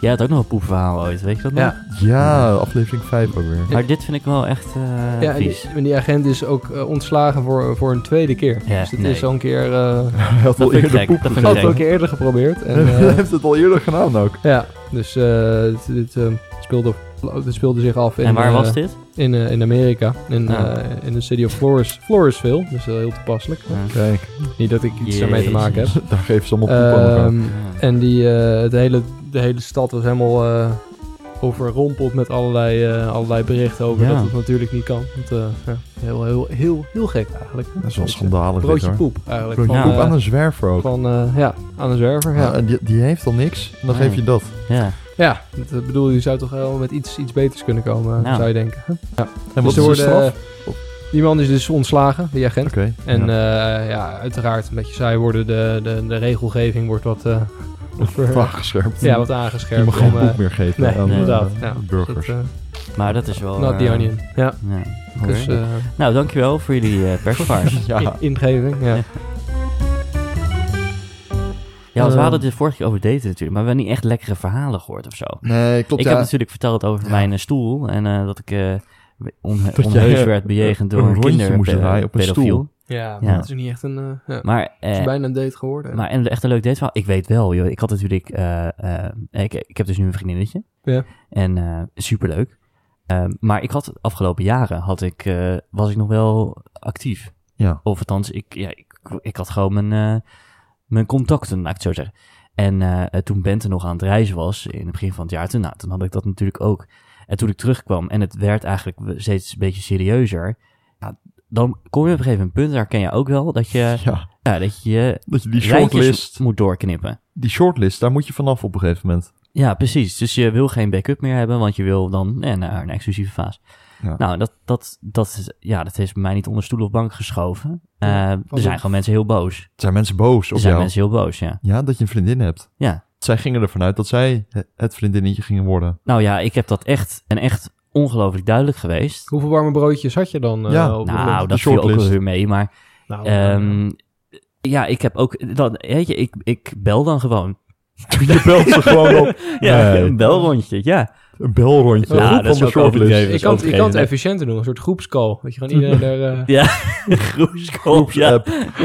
[SPEAKER 1] Jij had ook nog een poepverhaal ooit, weet je dat nog?
[SPEAKER 3] Ja.
[SPEAKER 2] Ja, aflevering 5 ook weer.
[SPEAKER 1] Maar dit vind ik wel echt eh
[SPEAKER 3] ja, en die,
[SPEAKER 1] vies.
[SPEAKER 3] en die agent is ook eh, ontslagen voor, voor een tweede keer.
[SPEAKER 1] Ja,
[SPEAKER 3] dus het
[SPEAKER 1] nee.
[SPEAKER 3] is al een keer, eh
[SPEAKER 2] Hij had
[SPEAKER 1] Dat vind
[SPEAKER 2] al
[SPEAKER 1] ik
[SPEAKER 2] eerder
[SPEAKER 1] gek,
[SPEAKER 2] poep
[SPEAKER 1] dat vind ik
[SPEAKER 3] had het al
[SPEAKER 1] gek.
[SPEAKER 2] gedaan.
[SPEAKER 3] een keer eerder geprobeerd. En,
[SPEAKER 2] Hij
[SPEAKER 3] eh,
[SPEAKER 2] heeft het al eerder gedaan ook.
[SPEAKER 3] Ja, dus eh, dit, dit, eh, speelde, dit speelde zich af in,
[SPEAKER 1] En waar
[SPEAKER 3] eh,
[SPEAKER 1] was dit?
[SPEAKER 3] in, eh, in Amerika, in,
[SPEAKER 1] Ah.
[SPEAKER 3] eh, in de city of Flores, Floresville. Dus wel heel toepasselijk.
[SPEAKER 1] Ja.
[SPEAKER 2] Kijk,
[SPEAKER 3] Niet dat ik iets daarmee
[SPEAKER 1] Ah.
[SPEAKER 3] te
[SPEAKER 1] Jezus.
[SPEAKER 3] maken heb.
[SPEAKER 2] daar geven ze allemaal poep aan elkaar.
[SPEAKER 3] Ehm, en die, eh, de, hele, de hele stad was helemaal eh, overrompeld met allerlei, eh, allerlei berichten over
[SPEAKER 1] Ja.
[SPEAKER 3] dat het natuurlijk niet kan. Want, eh, ja, heel, heel, heel, heel gek eigenlijk.
[SPEAKER 2] Dat is wel schandalig dit,
[SPEAKER 3] Broodje
[SPEAKER 2] hoor.
[SPEAKER 3] poep eigenlijk.
[SPEAKER 2] Broodje
[SPEAKER 1] Ja.
[SPEAKER 2] poep
[SPEAKER 3] eh,
[SPEAKER 2] aan Ah. een zwerver ook.
[SPEAKER 3] van, eh, ja, aan een zwerver.
[SPEAKER 2] Ja,
[SPEAKER 3] Ja,
[SPEAKER 2] en die, die heeft al niks. En dan
[SPEAKER 1] Nee.
[SPEAKER 2] geef je dat.
[SPEAKER 1] Ja.
[SPEAKER 3] ja dat eh, bedoel, je zou toch wel met iets, iets beters kunnen komen,
[SPEAKER 1] Ja.
[SPEAKER 3] zou je denken.
[SPEAKER 2] Nou. En wat
[SPEAKER 3] Dus er
[SPEAKER 2] is de
[SPEAKER 3] worden,
[SPEAKER 2] straf?
[SPEAKER 3] eh, die man is dus ontslagen, die agent.
[SPEAKER 2] Oké.
[SPEAKER 3] En
[SPEAKER 2] ja.
[SPEAKER 3] ja. ja, uiteraard een beetje saai worden. De, de, de regelgeving wordt wat, eh, wat ver-
[SPEAKER 2] Vaag gescherpt.
[SPEAKER 3] ja, wat
[SPEAKER 2] je
[SPEAKER 3] aangescherpt.
[SPEAKER 2] mag geen
[SPEAKER 3] om, eh,
[SPEAKER 2] poep meer geven
[SPEAKER 3] nee,
[SPEAKER 2] aan eh,
[SPEAKER 3] inderdaad. Ja,
[SPEAKER 2] burgers. Oh,
[SPEAKER 3] dat, eh,
[SPEAKER 1] Maar dat is wel...
[SPEAKER 3] not the
[SPEAKER 1] eh,
[SPEAKER 3] onion. Ja,
[SPEAKER 1] Ja.
[SPEAKER 3] dus
[SPEAKER 1] Oké.
[SPEAKER 3] eh,
[SPEAKER 1] Nou, dankjewel voor jullie eh persvars.
[SPEAKER 2] ja.
[SPEAKER 3] in- ingeving. Ja.
[SPEAKER 1] Ja. ja, want we
[SPEAKER 3] Eh.
[SPEAKER 1] hadden het de vorige keer over daten natuurlijk, maar we hebben niet echt lekkere verhalen gehoord of zo.
[SPEAKER 3] eh,
[SPEAKER 2] Nee, klopt.
[SPEAKER 1] ik
[SPEAKER 2] ja.
[SPEAKER 1] heb natuurlijk verteld over
[SPEAKER 2] Ja.
[SPEAKER 1] mijn eh, stoel en eh, dat ik eh, on-
[SPEAKER 2] jij,
[SPEAKER 1] onheus
[SPEAKER 2] eh,
[SPEAKER 1] werd bejegend door
[SPEAKER 2] een
[SPEAKER 1] een
[SPEAKER 2] rondje moest
[SPEAKER 1] kinderpedofiel.
[SPEAKER 2] draaien op een stoel.
[SPEAKER 3] Ja,
[SPEAKER 1] Ja.
[SPEAKER 3] dat is niet echt een... eh, ja.
[SPEAKER 1] Maar,
[SPEAKER 3] het
[SPEAKER 1] eh,
[SPEAKER 3] is bijna een date geworden.
[SPEAKER 1] maar en echt een leuk dateverhaal. Ik weet wel, joh. Ik had natuurlijk... eh, eh, ik, ik heb dus nu een vriendinnetje.
[SPEAKER 3] Ja.
[SPEAKER 1] En eh, superleuk. Ehm, maar ik had afgelopen jaren had ik, eh, was ik nog wel actief.
[SPEAKER 2] Ja.
[SPEAKER 1] Of althans, ik, ja, ik, ik had gewoon mijn, eh, mijn contacten, laat ik het zo zeggen. En eh, toen Bente nog aan het reizen was, in het begin van het jaar, toen, nou, toen had ik dat natuurlijk ook. En toen ik terugkwam en het werd eigenlijk steeds een beetje serieuzer, ja, dan kom je op een gegeven punt, daar ken je ook wel, dat je
[SPEAKER 2] Ja,
[SPEAKER 1] ja, dat je je
[SPEAKER 2] dat je die
[SPEAKER 1] rijtjes
[SPEAKER 2] shortlist,
[SPEAKER 1] moet doorknippen.
[SPEAKER 2] die shortlist, daar moet je vanaf op een gegeven moment.
[SPEAKER 1] Ja, precies. Dus je wil geen backup meer hebben, want je wil dan eh, naar een exclusieve fase.
[SPEAKER 2] Ja.
[SPEAKER 1] Nou, dat, dat, dat, is- ja, dat heeft bij mij niet onder stoel of bank geschoven. Eh,
[SPEAKER 3] Ja,
[SPEAKER 1] er
[SPEAKER 3] wat
[SPEAKER 1] zijn
[SPEAKER 3] een-
[SPEAKER 1] gewoon mensen heel boos.
[SPEAKER 2] Zijn mensen boos
[SPEAKER 1] Er
[SPEAKER 2] op
[SPEAKER 1] zijn
[SPEAKER 2] jou?
[SPEAKER 1] mensen heel boos, ja.
[SPEAKER 2] Ja, dat je een vriendin hebt.
[SPEAKER 1] Ja.
[SPEAKER 2] Zij gingen ervan uit dat zij he- het vriendinnetje gingen worden.
[SPEAKER 1] Nou ja, ik heb dat echt en echt ongelooflijk duidelijk geweest.
[SPEAKER 3] Hoeveel warme broodjes had je dan? eh,
[SPEAKER 2] Ja.
[SPEAKER 3] op de
[SPEAKER 1] Nou,
[SPEAKER 3] lunch?
[SPEAKER 1] dat viel ook wel
[SPEAKER 2] shortlist.
[SPEAKER 1] weer mee, maar
[SPEAKER 3] Nou,
[SPEAKER 1] Ehm, ja, ik heb ook. Dan, weet je, ik, ik bel dan gewoon.
[SPEAKER 2] je belt ze gewoon op
[SPEAKER 1] Ja,
[SPEAKER 2] Nee.
[SPEAKER 1] een belrondje. Ja,
[SPEAKER 2] een belrondje.
[SPEAKER 3] Ja,
[SPEAKER 2] Roep
[SPEAKER 1] dat is
[SPEAKER 2] van
[SPEAKER 1] ook
[SPEAKER 2] de shortlist.
[SPEAKER 1] overdreven.
[SPEAKER 3] ik
[SPEAKER 1] is
[SPEAKER 3] kan, ik
[SPEAKER 1] overdreven,
[SPEAKER 3] kan het
[SPEAKER 1] hè?
[SPEAKER 3] efficiënter doen, een soort groepscall. Dat je gewoon iedereen daar... eh,
[SPEAKER 1] groepskoop. Ja,
[SPEAKER 2] App.
[SPEAKER 1] ja,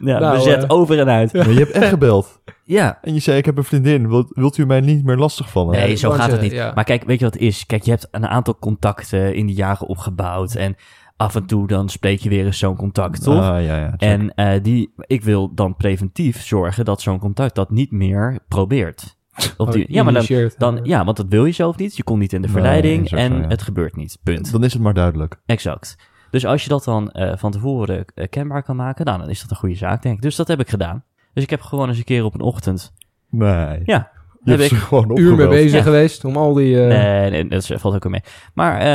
[SPEAKER 1] ja
[SPEAKER 3] Nou,
[SPEAKER 1] bezet
[SPEAKER 3] eh,
[SPEAKER 1] over en uit.
[SPEAKER 2] Maar je hebt echt gebeld.
[SPEAKER 1] Ja,
[SPEAKER 2] En je zei, ik heb een vriendin. Wilt, wilt u mij niet meer lastigvallen?
[SPEAKER 1] nee,
[SPEAKER 3] ik
[SPEAKER 1] zo
[SPEAKER 3] wou
[SPEAKER 1] gaat het
[SPEAKER 3] zeggen,
[SPEAKER 1] niet.
[SPEAKER 3] ja.
[SPEAKER 1] Maar kijk, weet je wat het is? Kijk, je hebt een aantal contacten in de jaren opgebouwd. En af en toe dan spreek je weer eens zo'n contact, toch?
[SPEAKER 2] Ah, ja, ja. check.
[SPEAKER 1] en eh, die, ik wil dan preventief zorgen dat zo'n contact dat niet meer probeert. Op die, ja, maar dan,
[SPEAKER 3] initieert.
[SPEAKER 1] Dan, ja, want dat wil je zelf niet. Je komt niet in de
[SPEAKER 2] Oh, eh. Nee,
[SPEAKER 1] verleiding
[SPEAKER 2] is ook
[SPEAKER 1] en
[SPEAKER 2] zo, ja.
[SPEAKER 1] het gebeurt niet. Punt.
[SPEAKER 2] Dan is het maar duidelijk.
[SPEAKER 1] Exact. Dus als je dat dan eh, van tevoren eh, kenbaar kan maken, nou, dan is dat een goede zaak, denk ik. Dus dat heb ik gedaan. Dus ik heb gewoon eens een keer op een ochtend.
[SPEAKER 2] Nee.
[SPEAKER 1] Ja,
[SPEAKER 2] Je
[SPEAKER 1] heb
[SPEAKER 2] hebt ze gewoon
[SPEAKER 3] uur mee
[SPEAKER 2] opgebeld.
[SPEAKER 3] bezig
[SPEAKER 1] Ja.
[SPEAKER 3] geweest om al die eh,
[SPEAKER 1] Nee, nee, dat is- valt ook wel mee. Maar, ehm,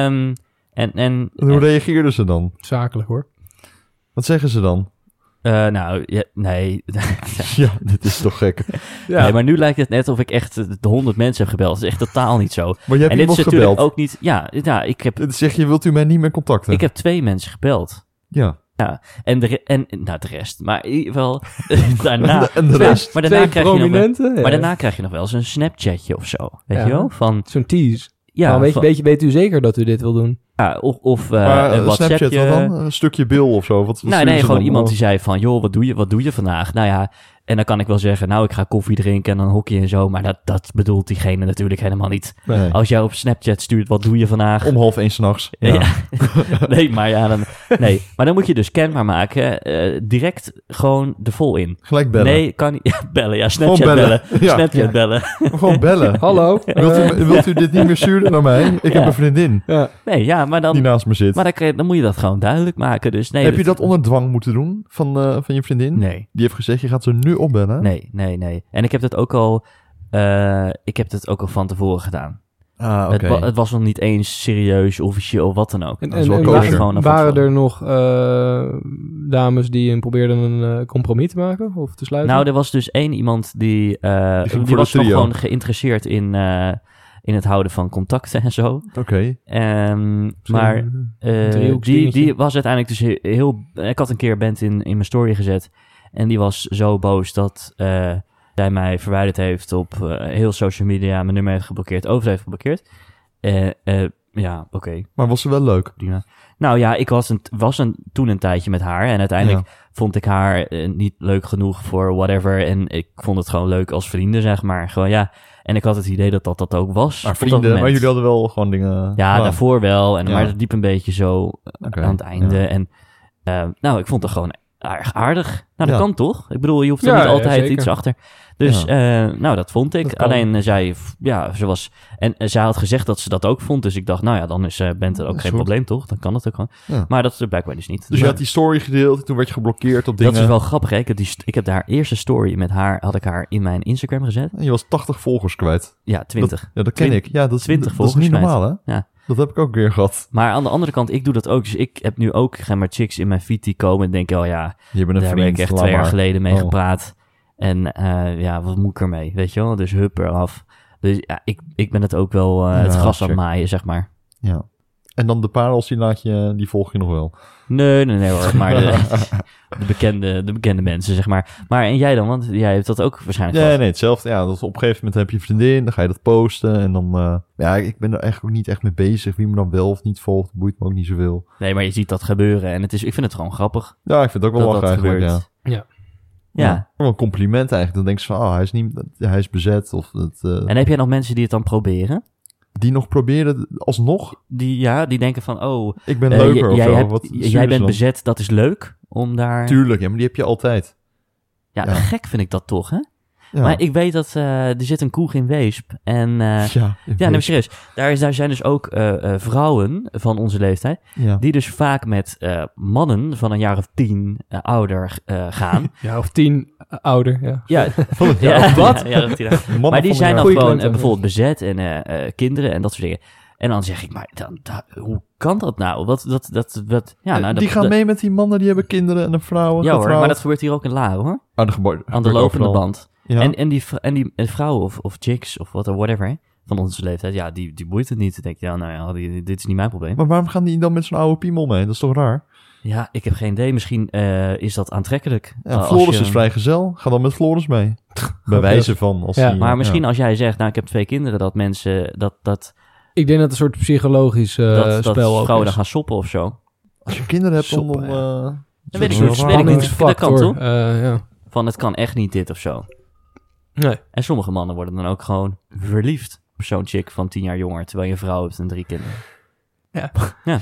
[SPEAKER 1] en, en,
[SPEAKER 2] En hoe reageerden ze dan?
[SPEAKER 3] zakelijk hoor.
[SPEAKER 2] Wat zeggen ze dan?
[SPEAKER 1] eh, nou, ja, nee.
[SPEAKER 2] Ja, dit is toch gek.
[SPEAKER 3] Ja,
[SPEAKER 1] nee. Maar nu lijkt het net of ik echt eh, de honderd mensen heb gebeld. Dat is echt totaal niet zo.
[SPEAKER 2] Maar je hebt
[SPEAKER 1] en dit is
[SPEAKER 2] iemand
[SPEAKER 1] natuurlijk
[SPEAKER 2] gebeld.
[SPEAKER 1] ook niet... Ja, ja ik, heb,
[SPEAKER 2] En zeg je, wilt u mij niet meer contacten?
[SPEAKER 1] ik heb twee mensen gebeld.
[SPEAKER 2] Ja.
[SPEAKER 1] En, de, re- en nou, de rest. Maar in ieder geval, daarna.
[SPEAKER 2] En de rest?
[SPEAKER 1] Maar daarna,
[SPEAKER 3] Twee
[SPEAKER 1] krijg je nog wel,
[SPEAKER 3] prominenten.
[SPEAKER 1] maar daarna krijg je nog wel eens een Snapchatje of zo. Weet
[SPEAKER 3] Ja.
[SPEAKER 1] je wel? Van,
[SPEAKER 3] Zo'n tease.
[SPEAKER 1] ja,
[SPEAKER 3] Nou, weet, je-
[SPEAKER 1] van-
[SPEAKER 3] weet, je- weet u zeker dat u dit wil doen?
[SPEAKER 1] ja, of, of eh,
[SPEAKER 2] maar eh,
[SPEAKER 1] een WhatsAppje. eh,
[SPEAKER 2] Snapchat, wat dan? Een stukje bil of zo? Wat, wat
[SPEAKER 1] Nee,
[SPEAKER 2] sturen
[SPEAKER 1] Nou, nee,
[SPEAKER 2] ze
[SPEAKER 1] gewoon
[SPEAKER 2] dan?
[SPEAKER 1] iemand die
[SPEAKER 2] Oh,
[SPEAKER 1] zei van, joh, wat doe, je, wat doe je vandaag? Nou ja, en dan kan ik wel zeggen, nou, ik ga koffie drinken en dan hockey en zo. Maar dat, dat bedoelt diegene natuurlijk helemaal niet.
[SPEAKER 2] nee.
[SPEAKER 1] Als jij op Snapchat stuurt, wat doe je vandaag?
[SPEAKER 2] Om half één s'nachts. Ja.
[SPEAKER 1] oh, Ja. nee, maar ja, dan, nee. Maar dan moet je dus kenbaar maken, eh, direct gewoon de vol in.
[SPEAKER 2] Gelijk bellen.
[SPEAKER 1] Nee, kan niet. Ja, bellen, ja, Snapchat
[SPEAKER 2] Gewoon
[SPEAKER 1] bellen.
[SPEAKER 2] bellen. Ja.
[SPEAKER 1] Snapchat
[SPEAKER 3] Ja.
[SPEAKER 1] bellen.
[SPEAKER 2] Gewoon bellen.
[SPEAKER 3] Hallo?
[SPEAKER 2] Wilt
[SPEAKER 3] eh,
[SPEAKER 2] u, wilt u dit niet meer sturen naar mij? Ik
[SPEAKER 1] Ja.
[SPEAKER 2] heb een vriendin
[SPEAKER 3] ja.
[SPEAKER 1] Nee, ja, maar dan,
[SPEAKER 2] die naast me zit.
[SPEAKER 1] maar dan, krijg- dan moet je dat gewoon duidelijk maken. Dus nee,
[SPEAKER 2] heb je dat onder dwang moeten doen van, eh, van je vriendin?
[SPEAKER 1] Nee,
[SPEAKER 2] Die heeft gezegd, je gaat ze nu opbellen?
[SPEAKER 1] nee, nee, nee. En ik heb dat ook al, eh, ik heb dat ook al van tevoren gedaan.
[SPEAKER 2] Ah, oké.
[SPEAKER 1] Het, wa- het was nog niet eens serieus, officieel, wat dan ook.
[SPEAKER 3] En,
[SPEAKER 2] Dat is
[SPEAKER 3] en-
[SPEAKER 2] wel
[SPEAKER 3] en
[SPEAKER 2] kosher.
[SPEAKER 3] wa-
[SPEAKER 1] Gewoon een
[SPEAKER 3] waren
[SPEAKER 1] foto.
[SPEAKER 3] er nog eh, dames die hem probeerden een eh, compromis te maken of te sluiten?
[SPEAKER 1] Nou, er was dus één iemand die, eh,
[SPEAKER 2] eh, Die ging
[SPEAKER 1] die,
[SPEAKER 2] voor de
[SPEAKER 1] was nog
[SPEAKER 2] trio.
[SPEAKER 1] gewoon geïnteresseerd in, eh, in het houden van contacten en zo.
[SPEAKER 2] Oké.
[SPEAKER 1] Ehm,
[SPEAKER 3] Zo'n,
[SPEAKER 1] maar
[SPEAKER 3] eh,
[SPEAKER 1] Eh, die,
[SPEAKER 3] driehoeksdingetje.
[SPEAKER 1] die was uiteindelijk dus he- heel... Ik had een keer Bent in, in mijn story gezet. En die was zo boos dat eh zij mij verwijderd heeft op eh, heel social media. Mijn nummer heeft geblokkeerd. Overal heeft geblokkeerd. Eh, eh, ja, oké.
[SPEAKER 2] Maar was ze wel leuk?
[SPEAKER 1] prima. Nou ja, ik was, een, was een, toen een tijdje met haar. En uiteindelijk vond ik haar eh, niet leuk genoeg voor whatever. En ik vond het gewoon leuk als vrienden, zeg maar. Gewoon ja. En ik had het idee dat dat, dat ook was.
[SPEAKER 2] Maar
[SPEAKER 1] op dat
[SPEAKER 2] vrienden, maar
[SPEAKER 1] moment.
[SPEAKER 2] jullie hadden wel gewoon dingen...
[SPEAKER 1] Ja,
[SPEAKER 2] Nou,
[SPEAKER 1] daarvoor wel. En,
[SPEAKER 2] Ja.
[SPEAKER 1] Maar het liep een beetje zo eh,
[SPEAKER 2] oké.
[SPEAKER 1] aan het einde.
[SPEAKER 2] Ja.
[SPEAKER 1] En eh, nou, ik vond het gewoon erg aardig. Nou, dat
[SPEAKER 2] Ja.
[SPEAKER 1] kan toch? Ik bedoel, je hoeft er
[SPEAKER 3] Ja,
[SPEAKER 1] niet
[SPEAKER 3] ja,
[SPEAKER 1] altijd
[SPEAKER 3] zeker.
[SPEAKER 1] iets achter. Dus eh, nou, dat vond ik.
[SPEAKER 3] Dat kan.
[SPEAKER 1] Alleen eh, zij, f- ja, ze was... En eh, zij had gezegd dat ze dat ook vond. Dus ik dacht, nou ja, dan is eh Bent er ook
[SPEAKER 2] Is
[SPEAKER 1] geen
[SPEAKER 2] goed.
[SPEAKER 1] probleem, toch? Dan kan dat ook gewoon.
[SPEAKER 2] Ja.
[SPEAKER 1] Maar dat is er blijkbaar dus niet.
[SPEAKER 2] Dus je
[SPEAKER 1] Maar
[SPEAKER 2] had die story gedeeld, toen werd je geblokkeerd op dingen.
[SPEAKER 1] dat is wel grappig, hè? Ik heb, die, st- ik heb haar eerste story met haar, had ik haar in mijn Instagram gezet.
[SPEAKER 2] En je was 80 volgers kwijt.
[SPEAKER 1] Ja, twintig.
[SPEAKER 2] Ja, dat ken
[SPEAKER 1] Twin-
[SPEAKER 2] ik. Ja, dat is,
[SPEAKER 1] 20
[SPEAKER 2] dat is niet
[SPEAKER 1] volgers
[SPEAKER 2] normaal, hè?
[SPEAKER 1] Ja.
[SPEAKER 2] Dat heb ik ook weer gehad.
[SPEAKER 1] Maar aan de andere kant, ik doe dat ook. Dus ik heb nu ook geen maar chicks in mijn feed die komen en denken, oh ja,
[SPEAKER 2] Je bent een
[SPEAKER 1] Daar ben
[SPEAKER 2] vriend,
[SPEAKER 1] ik echt
[SPEAKER 2] laat
[SPEAKER 1] twee jaar
[SPEAKER 2] maar.
[SPEAKER 1] geleden mee
[SPEAKER 2] Oh.
[SPEAKER 1] gepraat. En eh, ja, wat moet ik ermee? Weet je wel? Dus hup eraf. Dus ja, ik, ik ben het ook wel eh, het
[SPEAKER 2] Ja,
[SPEAKER 1] gras aan het
[SPEAKER 2] check.
[SPEAKER 1] maaien, zeg maar.
[SPEAKER 2] Ja. En dan de parels, die, laat je, die volg je nog wel.
[SPEAKER 1] Nee, nee, nee hoor. Maar de, de bekende, de bekende mensen, zeg maar. Maar en jij dan? Want jij hebt dat ook waarschijnlijk
[SPEAKER 2] Ja,
[SPEAKER 1] vast.
[SPEAKER 2] nee, hetzelfde. Ja, dat op een gegeven moment heb je een vriendin, dan ga je dat posten. En dan, eh, ja, ik ben er eigenlijk ook niet echt mee bezig. Wie me dan wel of niet volgt, boeit me ook niet zoveel.
[SPEAKER 1] Nee, maar je ziet dat gebeuren. En het is, ik vind het gewoon grappig
[SPEAKER 2] Ja, ik vind het ook wel
[SPEAKER 1] dat
[SPEAKER 2] lachen
[SPEAKER 1] dat
[SPEAKER 2] eigenlijk,
[SPEAKER 1] gebeurt.
[SPEAKER 2] ja.
[SPEAKER 3] Ja.
[SPEAKER 1] Ja.
[SPEAKER 2] Wel Een compliment eigenlijk. Dan denk je van, oh, hij is, niet, hij is bezet. Of dat, eh,
[SPEAKER 1] En heb jij nog mensen die het dan proberen?
[SPEAKER 2] die nog proberen, alsnog,
[SPEAKER 1] Die, ja, die denken van, oh,
[SPEAKER 2] ik ben
[SPEAKER 1] eh, j-
[SPEAKER 2] leuker of
[SPEAKER 1] jij,
[SPEAKER 2] zo.
[SPEAKER 1] hebt-
[SPEAKER 2] Wat
[SPEAKER 1] j-
[SPEAKER 2] zuur
[SPEAKER 1] jij
[SPEAKER 2] is
[SPEAKER 1] bent
[SPEAKER 2] dat?
[SPEAKER 1] bezet, dat is leuk. Om daar...
[SPEAKER 2] Tuurlijk, ja, maar die heb je altijd.
[SPEAKER 1] Ja,
[SPEAKER 2] ja.
[SPEAKER 1] gek vind ik dat toch, hè?
[SPEAKER 2] Ja.
[SPEAKER 1] Maar ik weet dat eh, er zit een kroeg in Weesp. En eh,
[SPEAKER 2] ja, ik
[SPEAKER 1] ja, nee, maar
[SPEAKER 2] weet-
[SPEAKER 1] serieus. Daar, is, daar zijn dus ook eh, eh, vrouwen van onze leeftijd.
[SPEAKER 2] ja.
[SPEAKER 1] Die dus vaak met eh, mannen van een jaar of tien eh, ouder eh, gaan.
[SPEAKER 3] Ja, of tien eh, ouder. Ja.
[SPEAKER 1] ja,
[SPEAKER 2] Mannen
[SPEAKER 1] ja,
[SPEAKER 3] wat?
[SPEAKER 1] ja, ja, dat die daar-
[SPEAKER 2] van
[SPEAKER 1] maar die
[SPEAKER 2] de
[SPEAKER 1] zijn dan gewoon
[SPEAKER 2] jaren-
[SPEAKER 3] Goeie klant,
[SPEAKER 1] eh,
[SPEAKER 3] hè?
[SPEAKER 1] bijvoorbeeld bezet en eh, eh, kinderen en dat soort dingen. En dan zeg ik, maar dan, da- hoe kan dat nou? Wat, dat, dat, wat, ja, nou, dat,
[SPEAKER 2] Eh, die gaan
[SPEAKER 1] dat-
[SPEAKER 2] mee met die mannen, die hebben kinderen en een vrouw.
[SPEAKER 1] Ja hoor, maar dat gebeurt hier ook in Laren hoor.
[SPEAKER 2] aan Ah, de, gebo-
[SPEAKER 1] Aan de lopende
[SPEAKER 2] overal.
[SPEAKER 1] band.
[SPEAKER 2] Ja.
[SPEAKER 1] En, en die, vrou- en die en vrouwen of, of chicks of wat- whatever hè, van onze leeftijd, ja, die, die boeit het niet. Dan denk je, ja, nou ja, die- dit is niet mijn probleem.
[SPEAKER 2] Maar waarom gaan die dan met zo'n oude piemel mee? Dat is toch raar?
[SPEAKER 1] Ja, ik heb geen idee. Misschien eh, is dat aantrekkelijk.
[SPEAKER 2] Ja,
[SPEAKER 1] Eh, als
[SPEAKER 2] Floris
[SPEAKER 1] je-
[SPEAKER 2] is vrijgezel. Ga dan met Floris mee. Bij wijze van. Als
[SPEAKER 3] Ja,
[SPEAKER 2] die,
[SPEAKER 1] Maar misschien
[SPEAKER 2] ja.
[SPEAKER 1] als jij zegt, nou, ik heb twee kinderen, dat mensen, dat, dat,
[SPEAKER 3] Ik denk dat het een soort psychologisch eh,
[SPEAKER 1] dat, dat
[SPEAKER 3] spel ook
[SPEAKER 1] vrouwen
[SPEAKER 3] is.
[SPEAKER 1] dan gaan soppen of zo.
[SPEAKER 2] als je kinderen hebt, dan...
[SPEAKER 3] Soppen,
[SPEAKER 2] dan eh,
[SPEAKER 1] Dat weet ik
[SPEAKER 2] wel
[SPEAKER 1] niet.
[SPEAKER 2] raar.
[SPEAKER 1] Weet ik niet. Dat kan
[SPEAKER 3] Spanningsfactor.
[SPEAKER 1] toch?
[SPEAKER 3] eh, ja.
[SPEAKER 1] Van het kan echt niet dit of zo.
[SPEAKER 3] Nee.
[SPEAKER 1] En sommige mannen worden dan ook gewoon verliefd op zo'n chick van tien jaar jonger, terwijl je een vrouw hebt en drie kinderen.
[SPEAKER 2] Ja,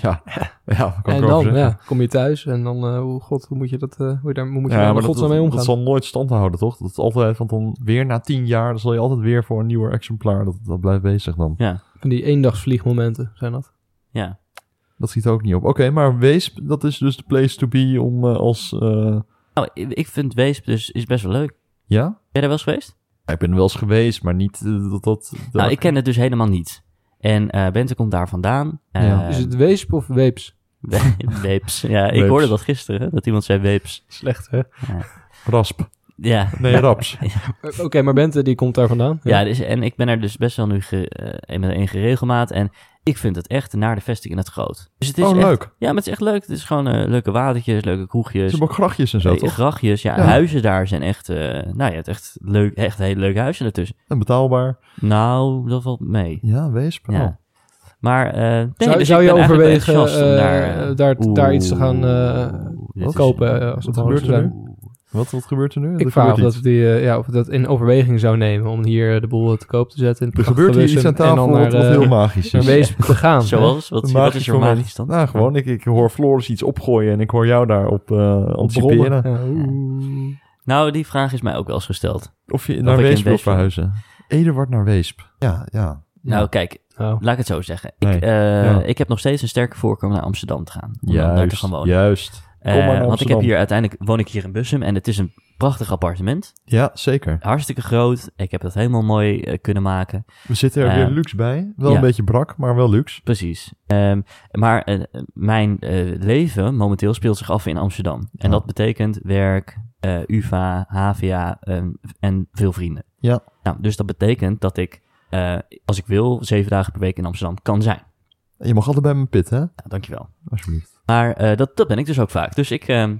[SPEAKER 2] dat kan
[SPEAKER 3] En
[SPEAKER 2] ik erover
[SPEAKER 3] dan
[SPEAKER 2] zeggen.
[SPEAKER 3] ja, kom je thuis en dan, eh, hoe, god, hoe moet je dat, eh, hoe je daar, hoe moet je
[SPEAKER 2] Ja,
[SPEAKER 3] daar in
[SPEAKER 2] maar dat,
[SPEAKER 3] godsnaam mee
[SPEAKER 2] dat,
[SPEAKER 3] omgaan?
[SPEAKER 2] dat zal nooit stand houden, toch? Dat is altijd, want dan weer na tien jaar, dan zal je altijd weer voor een nieuwer exemplaar. Dat, dat blijft bezig dan.
[SPEAKER 3] Van die eendagsvliegmomenten zijn dat.
[SPEAKER 1] Ja.
[SPEAKER 2] Dat ziet er ook niet op. Oké, maar Weesp, dat is dus de place to be om eh, als... eh,
[SPEAKER 1] Nou, ik- ik vind Weesp dus is best wel leuk. Ben
[SPEAKER 2] ja?
[SPEAKER 1] je daar wel eens geweest?
[SPEAKER 2] Ja, Ik ben er wel eens geweest, maar niet eh, dat... dat
[SPEAKER 1] Nou, ik ken het dus helemaal niet. En eh Bente komt daar vandaan. Eh,
[SPEAKER 2] Ja.
[SPEAKER 3] Is het weesp of weeps?
[SPEAKER 1] we- Weeps. Ja, ik
[SPEAKER 2] Weeps.
[SPEAKER 1] hoorde dat gisteren, hè, dat iemand zei Weeps.
[SPEAKER 3] Slecht, hè?
[SPEAKER 2] Rasp.
[SPEAKER 1] Ja,
[SPEAKER 2] Nee, raps.
[SPEAKER 3] Eh, Oké, maar Bente, die komt daar vandaan.
[SPEAKER 1] Ja, dus, en ik ben er dus best wel nu ge, eh, met een geregelmaat. En ik vind het echt naar de vesting in het groot. Dus het is
[SPEAKER 2] Oh,
[SPEAKER 1] echt-
[SPEAKER 2] leuk.
[SPEAKER 1] Ja, maar het is echt leuk. Het is gewoon eh, leuke watertjes, leuke
[SPEAKER 2] Ze
[SPEAKER 1] kroegjes.
[SPEAKER 2] hebben ook grachtjes en zo,
[SPEAKER 1] eh,
[SPEAKER 2] toch?
[SPEAKER 1] grachtjes. Ja,
[SPEAKER 2] Ja.
[SPEAKER 1] huizen daar zijn echt, eh, nou ja, het echt leuk, echt hele leuke huizen ertussen.
[SPEAKER 2] En betaalbaar.
[SPEAKER 1] Nou, dat valt mee.
[SPEAKER 2] Ja, Weesp.
[SPEAKER 1] Ja.
[SPEAKER 2] Oh.
[SPEAKER 1] Maar, eh, nee,
[SPEAKER 3] zou,
[SPEAKER 1] dus
[SPEAKER 3] zou
[SPEAKER 1] ik
[SPEAKER 3] je
[SPEAKER 1] ben eigenlijk wel
[SPEAKER 3] overwegen
[SPEAKER 1] enthousiast om
[SPEAKER 3] eh,
[SPEAKER 1] daar, eh,
[SPEAKER 3] daar, daar iets te gaan eh,
[SPEAKER 1] Oeh, dit is-
[SPEAKER 3] kopen? eh, als
[SPEAKER 2] Wat
[SPEAKER 3] het
[SPEAKER 2] gebeurt er
[SPEAKER 3] zijn?
[SPEAKER 2] nu? Wat, wat gebeurt er nu?
[SPEAKER 3] Ik vraag of dat, we die, eh, ja, of we dat in overweging zou nemen om hier eh, de boel te koop te zetten. in het
[SPEAKER 2] Er gebeurt hier iets
[SPEAKER 3] Gewussum
[SPEAKER 2] aan
[SPEAKER 3] en dan
[SPEAKER 2] tafel wat,
[SPEAKER 3] naar,
[SPEAKER 2] wat
[SPEAKER 3] eh,
[SPEAKER 2] heel magisch
[SPEAKER 3] naar
[SPEAKER 2] is.
[SPEAKER 3] Weesp te gaan. hè?
[SPEAKER 1] Zoals, wat,
[SPEAKER 2] Een
[SPEAKER 1] wat
[SPEAKER 2] magisch
[SPEAKER 1] is er magisch dan?
[SPEAKER 2] Nou, gewoon. Ik, ik hoor Floris iets opgooien en ik hoor jou daarop eh anticiperen.
[SPEAKER 3] Brommen. Ja, oeh.
[SPEAKER 1] Nou, die vraag is mij ook wel eens gesteld.
[SPEAKER 2] Of je naar
[SPEAKER 1] ik in
[SPEAKER 2] Weesp wil
[SPEAKER 1] Weesp wil.
[SPEAKER 2] verhuizen. Eduard naar Weesp. Ja, ja.
[SPEAKER 1] Nou, kijk,
[SPEAKER 3] Nou,
[SPEAKER 1] Laat ik het zo zeggen. Ik,
[SPEAKER 2] Nee.
[SPEAKER 1] eh,
[SPEAKER 2] Ja.
[SPEAKER 1] ik heb nog steeds een sterke voorkeur om naar Amsterdam te gaan. Om dan daar te
[SPEAKER 2] Juist,
[SPEAKER 1] gaan wonen.
[SPEAKER 2] juist.
[SPEAKER 1] Eh,
[SPEAKER 2] Kom maar
[SPEAKER 1] want
[SPEAKER 2] naar
[SPEAKER 1] ik
[SPEAKER 2] Amsterdam.
[SPEAKER 1] heb hier uiteindelijk woon ik hier in Bussum en het is een prachtig appartement.
[SPEAKER 2] Ja, zeker.
[SPEAKER 1] Hartstikke groot. Ik heb dat helemaal mooi eh, kunnen maken.
[SPEAKER 2] We zitten er
[SPEAKER 1] Eh,
[SPEAKER 2] weer luxe bij. Wel
[SPEAKER 1] ja.
[SPEAKER 2] een beetje brak, maar wel luxe.
[SPEAKER 1] Precies. Ehm, maar eh, mijn eh, leven momenteel speelt zich af in Amsterdam. En
[SPEAKER 2] Ja.
[SPEAKER 1] dat betekent werk, eh, UvA, HVA en- ehm, en veel vrienden.
[SPEAKER 2] Ja.
[SPEAKER 1] Nou, dus dat betekent dat ik, eh, als ik wil, zeven dagen per week in Amsterdam kan zijn.
[SPEAKER 2] Je mag altijd bij mijn pit, hè?
[SPEAKER 1] Nou, dankjewel.
[SPEAKER 2] Alsjeblieft.
[SPEAKER 1] Maar eh, dat, dat ben ik dus ook vaak. Dus ik ehm,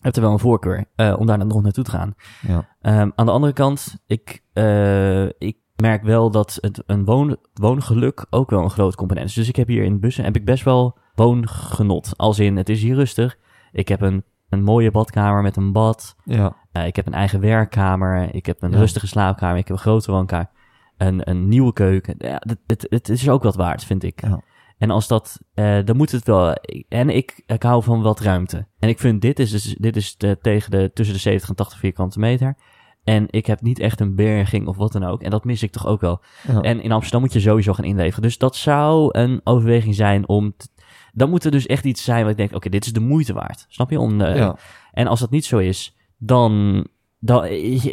[SPEAKER 1] heb er wel een voorkeur eh, om daar dan nog naartoe te gaan.
[SPEAKER 2] Ja.
[SPEAKER 1] Ehm, aan de andere kant, ik, eh, ik merk wel dat het een woon, woongeluk ook wel een groot component is. Dus ik heb hier in bussen heb ik best wel woongenot. Als in, het is hier rustig. Ik heb een, een mooie badkamer met een bad.
[SPEAKER 2] Ja.
[SPEAKER 1] Eh, ik heb een eigen werkkamer. Ik heb een
[SPEAKER 2] Ja.
[SPEAKER 1] rustige slaapkamer. Ik heb een grote woonkamer. Een, een nieuwe keuken. Ja, het, het, het is ook wat waard, vind ik.
[SPEAKER 2] Ja.
[SPEAKER 1] En als dat, eh, dan moet het wel. En ik, ik hou van wat ruimte. En ik vind dit is, dus- dit is de, tegen de, tussen de 70 en 80 vierkante meter. En ik heb niet echt een berging of wat dan ook. En dat mis ik toch ook wel.
[SPEAKER 2] ja.
[SPEAKER 1] En in Amsterdam moet je sowieso gaan inleveren. Dus dat zou een overweging zijn om. t- dan moet er dus echt iets zijn waar ik denk: oké, dit is de moeite waard. Snap je? Om, eh,
[SPEAKER 2] ja.
[SPEAKER 1] en als dat niet zo is, dan, dan,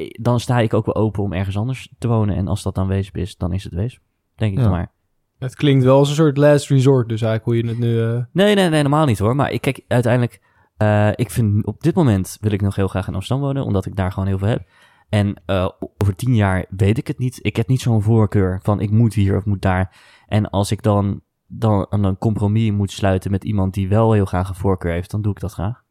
[SPEAKER 1] dan sta ik ook wel open om ergens anders te wonen. En als dat dan Weesp is, dan is het Weesp. Denk ik
[SPEAKER 2] Ja.
[SPEAKER 1] dan maar.
[SPEAKER 3] het klinkt wel als een soort last resort, dus eigenlijk hoe je het nu... eh,
[SPEAKER 1] Nee, nee, nee, normaal niet hoor. Maar ik kijk uiteindelijk, eh, ik vind op dit moment wil ik nog heel graag in Amsterdam wonen, omdat ik daar gewoon heel veel heb. En eh, over tien jaar weet ik het niet. Ik heb niet zo'n voorkeur van ik moet hier of moet daar. En als ik dan dan aan een compromis moet sluiten met iemand die wel heel graag een voorkeur heeft, dan doe ik dat graag.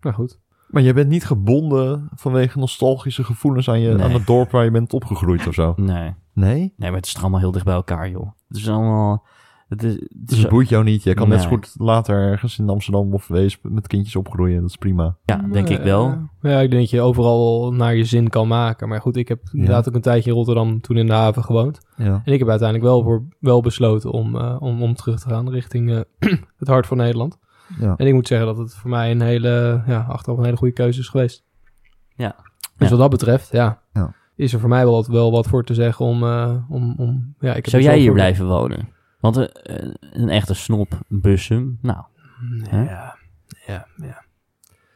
[SPEAKER 3] Nou goed.
[SPEAKER 2] Maar je bent niet gebonden vanwege nostalgische gevoelens aan, je,
[SPEAKER 1] Nee.
[SPEAKER 2] aan het dorp waar je bent opgegroeid of zo.
[SPEAKER 1] Nee,
[SPEAKER 2] Nee?
[SPEAKER 1] nee maar het is toch allemaal heel dicht bij elkaar, joh. Het is allemaal... Het is, het
[SPEAKER 2] Dus
[SPEAKER 1] is,
[SPEAKER 2] het boeit jou niet. Je kan net zo
[SPEAKER 1] Nee.
[SPEAKER 2] goed later ergens in Amsterdam of Weesp met kindjes opgroeien. Dat is prima.
[SPEAKER 1] ja, denk ik wel.
[SPEAKER 3] Ja, ik denk dat je overal wel naar je zin kan maken. Maar goed, ik heb inderdaad ook een tijdje in Rotterdam toen in de haven gewoond.
[SPEAKER 2] Ja.
[SPEAKER 3] En ik heb uiteindelijk wel, voor, wel besloten om, eh, om, om terug te gaan richting eh, het hart van Nederland.
[SPEAKER 2] Ja.
[SPEAKER 3] En ik moet zeggen dat het voor mij een hele, ja, achteraf een hele goede keuze is geweest.
[SPEAKER 1] Ja.
[SPEAKER 3] Dus
[SPEAKER 1] Ja.
[SPEAKER 3] wat dat betreft, ja,
[SPEAKER 2] Ja.
[SPEAKER 3] is er voor mij wel wat, wel wat voor te zeggen om... eh, om, om ja, ik heb
[SPEAKER 1] Zou
[SPEAKER 3] er
[SPEAKER 1] jij
[SPEAKER 3] zo
[SPEAKER 1] hier
[SPEAKER 3] voor-
[SPEAKER 1] blijven wonen? Want eh, eh, een echte snop, Bussum, nou, Hè?
[SPEAKER 3] Ja, ja, ja.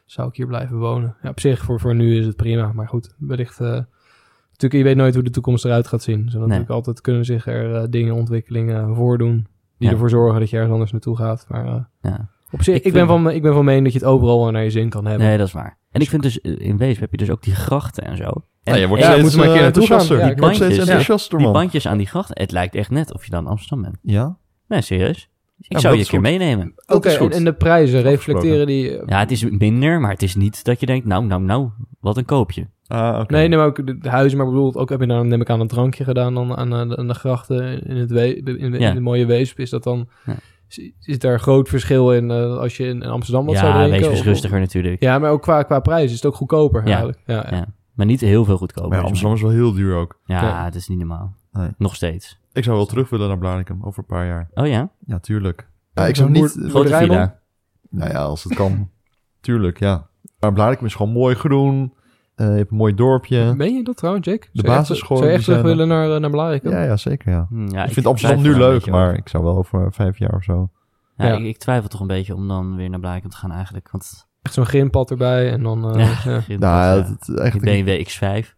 [SPEAKER 3] Zou ik hier blijven wonen? Ja, op zich, voor, voor nu is het prima. Maar goed, wellicht... eh, natuurlijk, je weet nooit hoe de toekomst eruit gaat zien. Zo natuurlijk altijd kunnen zich er eh, dingen, ontwikkelingen voordoen... die
[SPEAKER 1] Ja.
[SPEAKER 3] ervoor zorgen dat je ergens anders naartoe gaat. Maar eh,
[SPEAKER 1] ja.
[SPEAKER 3] op zich,
[SPEAKER 1] Ik
[SPEAKER 3] ik, ben
[SPEAKER 1] vind-
[SPEAKER 3] van, me- ik ben van mening dat je het overal wel naar je zin kan hebben.
[SPEAKER 1] Nee, dat is waar. En ik vind dus, eh, in Weesp heb je dus ook die grachten en zo. En
[SPEAKER 2] Nou, je wordt
[SPEAKER 1] en
[SPEAKER 3] Ja,
[SPEAKER 2] steeds
[SPEAKER 3] moeten we maar een
[SPEAKER 2] eh,
[SPEAKER 3] keer naartoe gaan.
[SPEAKER 2] enthousiaster.
[SPEAKER 3] Ja,
[SPEAKER 2] je wordt steeds
[SPEAKER 1] bandjes, ja.
[SPEAKER 2] enthousiaster,
[SPEAKER 1] die
[SPEAKER 2] man.
[SPEAKER 1] bandjes aan die grachten, het lijkt echt net of je dan in Amsterdam bent.
[SPEAKER 2] Ja?
[SPEAKER 1] Nee, serieus. Ik zou
[SPEAKER 2] Ja,
[SPEAKER 1] je
[SPEAKER 2] dat
[SPEAKER 1] een
[SPEAKER 2] is
[SPEAKER 1] keer meenemen.
[SPEAKER 3] Oké,
[SPEAKER 2] Dat is goed.
[SPEAKER 3] eh, en, en de prijzen,
[SPEAKER 2] Afgesproken.
[SPEAKER 3] reflecteren die... eh,
[SPEAKER 1] Ja, het is minder, maar het is niet dat je denkt, nou, nou, nou, wat een koopje.
[SPEAKER 2] Ah, oké.
[SPEAKER 3] Nee, neem ook de, de huizen, maar bedoel, ook heb je nou, dan, neem ik aan, een drankje gedaan dan aan, eh, de- aan de grachten in, het we, in, in
[SPEAKER 1] Ja.
[SPEAKER 3] de mooie Weesp. Is dat dan,
[SPEAKER 1] Ja.
[SPEAKER 3] is, is daar groot verschil in eh, als je in, in Amsterdam wat zou
[SPEAKER 1] ja,
[SPEAKER 3] drinken?
[SPEAKER 1] wees
[SPEAKER 3] Of-
[SPEAKER 1] eens rustiger natuurlijk.
[SPEAKER 3] Ja, maar ook qua, qua prijs is het ook goedkoper
[SPEAKER 1] Ja.
[SPEAKER 3] eigenlijk. Ja, ja.
[SPEAKER 1] Ja. Maar niet heel veel goedkoper.
[SPEAKER 2] Maar ja,
[SPEAKER 1] dus-
[SPEAKER 2] Amsterdam is wel heel duur ook.
[SPEAKER 1] Ja,
[SPEAKER 3] Ja.
[SPEAKER 1] het is niet normaal.
[SPEAKER 2] Nee.
[SPEAKER 1] Nog steeds.
[SPEAKER 2] Ik zou wel terug willen naar Blarikum over een paar jaar.
[SPEAKER 1] Oh ja?
[SPEAKER 2] Ja, tuurlijk.
[SPEAKER 3] Ja, ik zou niet-
[SPEAKER 1] Grote
[SPEAKER 3] Boerderij
[SPEAKER 1] villa.
[SPEAKER 3] dan?
[SPEAKER 2] Nou ja, als het kan. tuurlijk, ja. Maar Blarikum is gewoon mooi groen. Eh, je hebt een mooi dorpje.
[SPEAKER 3] Ben je dat trouwens, Jake? Zou je
[SPEAKER 2] basisschool,
[SPEAKER 3] echt- Zou je echt
[SPEAKER 2] die
[SPEAKER 3] terug
[SPEAKER 2] zijn
[SPEAKER 3] willen naar, eh, naar Blarikum?
[SPEAKER 2] Ja, ja, zeker, ja.
[SPEAKER 1] Hm, ja,
[SPEAKER 2] ik, vind Amsterdam
[SPEAKER 1] twijfel
[SPEAKER 2] nu
[SPEAKER 1] daar een
[SPEAKER 2] leuk,
[SPEAKER 1] beetje over.
[SPEAKER 2] maar ik zou wel over vijf jaar of zo.
[SPEAKER 1] Ja,
[SPEAKER 3] Ja.
[SPEAKER 1] Ik, ik twijfel toch een beetje om dan weer naar Blarikum te gaan eigenlijk. Want
[SPEAKER 3] Echt zo'n grindpad erbij en dan... eh, ja.
[SPEAKER 1] ik vind
[SPEAKER 2] Nou,
[SPEAKER 1] dat,
[SPEAKER 2] ja,
[SPEAKER 1] eh,
[SPEAKER 2] dat is echt...
[SPEAKER 1] die BMW X5.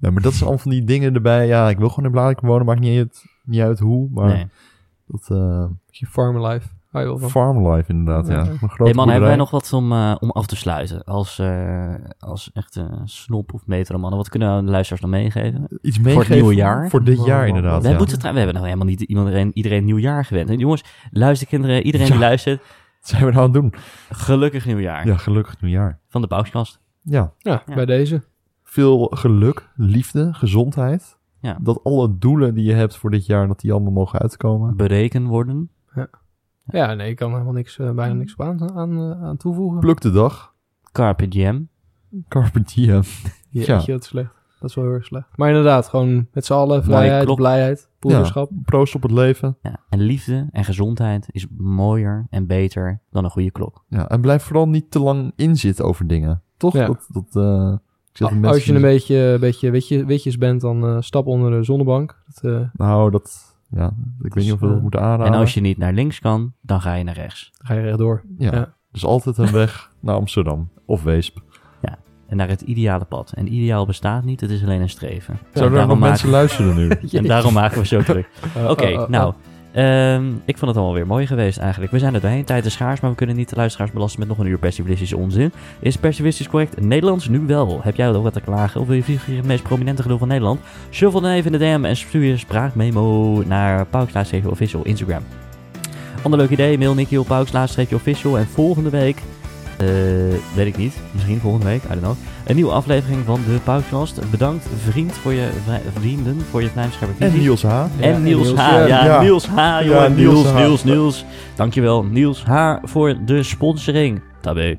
[SPEAKER 2] Ja, maar dat zijn allemaal van die dingen erbij. Ja, ik wil gewoon in Blarikum wonen. Maakt niet uit, niet uit hoe, maar
[SPEAKER 1] Nee.
[SPEAKER 2] dat eh
[SPEAKER 3] Je farm life. Hou je wel van.
[SPEAKER 2] farmlife inderdaad, ja.
[SPEAKER 3] Ja.
[SPEAKER 2] Een grote
[SPEAKER 1] Hey man, hebben wij
[SPEAKER 2] boerderij.
[SPEAKER 1] nog wat om, eh, om af te sluiten? Als, eh, als echte snop of metromannen, wat kunnen we de luisteraars nog meegeven?
[SPEAKER 2] iets
[SPEAKER 1] het
[SPEAKER 2] meegeven?
[SPEAKER 1] nieuwe jaar?
[SPEAKER 2] Voor dit
[SPEAKER 3] Wow,
[SPEAKER 2] jaar
[SPEAKER 3] wow,
[SPEAKER 2] inderdaad,
[SPEAKER 1] We,
[SPEAKER 2] ja.
[SPEAKER 1] moeten, tra- we hebben nog helemaal niet iedereen, iedereen nieuwjaar gewend. En jongens, luister kinderen, iedereen die
[SPEAKER 2] Ja.
[SPEAKER 1] luistert,
[SPEAKER 2] Wat zijn we nou aan het doen?
[SPEAKER 1] gelukkig nieuwjaar
[SPEAKER 2] Ja, gelukkig nieuwjaar.
[SPEAKER 1] van de Pauskast.
[SPEAKER 2] Ja,
[SPEAKER 3] Ja,
[SPEAKER 1] Ja.
[SPEAKER 3] bij deze.
[SPEAKER 2] veel geluk, liefde, gezondheid.
[SPEAKER 1] Ja.
[SPEAKER 2] Dat alle doelen die je hebt voor dit jaar, dat die allemaal mogen uitkomen.
[SPEAKER 1] Bereken worden.
[SPEAKER 3] Ja, nee, ik kan er helemaal niks, eh, bijna niks op aan, aan, eh, aan toevoegen.
[SPEAKER 2] Pluk de dag.
[SPEAKER 1] Carpe diem.
[SPEAKER 2] Carpe diem.
[SPEAKER 3] Ja.
[SPEAKER 2] Ja.
[SPEAKER 3] Jeetje, dat is slecht. Dat is wel heel erg slecht. Maar inderdaad, gewoon met z'n allen vrijheid,
[SPEAKER 1] klok.
[SPEAKER 3] blijheid, broederschap.
[SPEAKER 2] Proost op het leven.
[SPEAKER 1] Ja. En liefde en gezondheid is mooier en beter dan een goede klok.
[SPEAKER 2] Ja, en blijf vooral niet te lang inzitten over dingen. Toch?
[SPEAKER 3] Ja.
[SPEAKER 2] Dat, dat, eh, ik zeg
[SPEAKER 1] Ah,
[SPEAKER 3] Al-
[SPEAKER 2] mensen
[SPEAKER 3] Als je een
[SPEAKER 2] die-
[SPEAKER 3] beetje, beetje witje, witjes bent, dan eh, stap onder de zonnebank. Dat, eh,
[SPEAKER 2] Nou, dat... Ja, ik weet niet of we dat
[SPEAKER 3] eh,
[SPEAKER 2] moeten aanraden.
[SPEAKER 1] Dus, En als je niet naar links kan, dan ga je naar rechts.
[SPEAKER 3] dan ga je rechtdoor.
[SPEAKER 2] ja.
[SPEAKER 3] ja.
[SPEAKER 2] Dus altijd een weg naar Amsterdam. Of Weesp.
[SPEAKER 1] En naar het ideale pad. En ideaal bestaat niet, het is alleen een streven. En
[SPEAKER 2] Zouden er nog
[SPEAKER 1] daarom
[SPEAKER 2] mensen luisteren nu?
[SPEAKER 1] maken- En daarom maken we zo druk.
[SPEAKER 3] Eh,
[SPEAKER 1] Oké,
[SPEAKER 3] eh, eh,
[SPEAKER 1] nou. ehm, ik vond het allemaal weer mooi geweest eigenlijk. We zijn er doorheen. Tijd is schaars, maar we kunnen niet de luisteraars belasten met nog een uur persiflistische onzin. Is persiflistisch correct? Nederlands nu wel. Heb jij ook wat te klagen? Of wil je vliegen in het meest prominente gelul van Nederland? Shuffle dan even in de DM en stuur je spraakmemo naar Pauwkslaas-official official Instagram. Ander leuk idee, mail Nicky op Pauwkslaas-official. En volgende week, eh, weet ik niet, misschien volgende week, I don't know. Een nieuwe aflevering van de Pauwkast. Bedankt vriend voor je, vrij- vrienden voor je vlijmscherpe
[SPEAKER 2] En Niels H.
[SPEAKER 1] en
[SPEAKER 3] Ja,
[SPEAKER 1] Niels, H. Ja,
[SPEAKER 2] ja.
[SPEAKER 1] Niels H. Jongen,
[SPEAKER 2] Ja,
[SPEAKER 1] Niels,
[SPEAKER 2] Niels H.
[SPEAKER 1] Niels, Niels. Dankjewel, Niels H. voor de sponsoring. Tabé.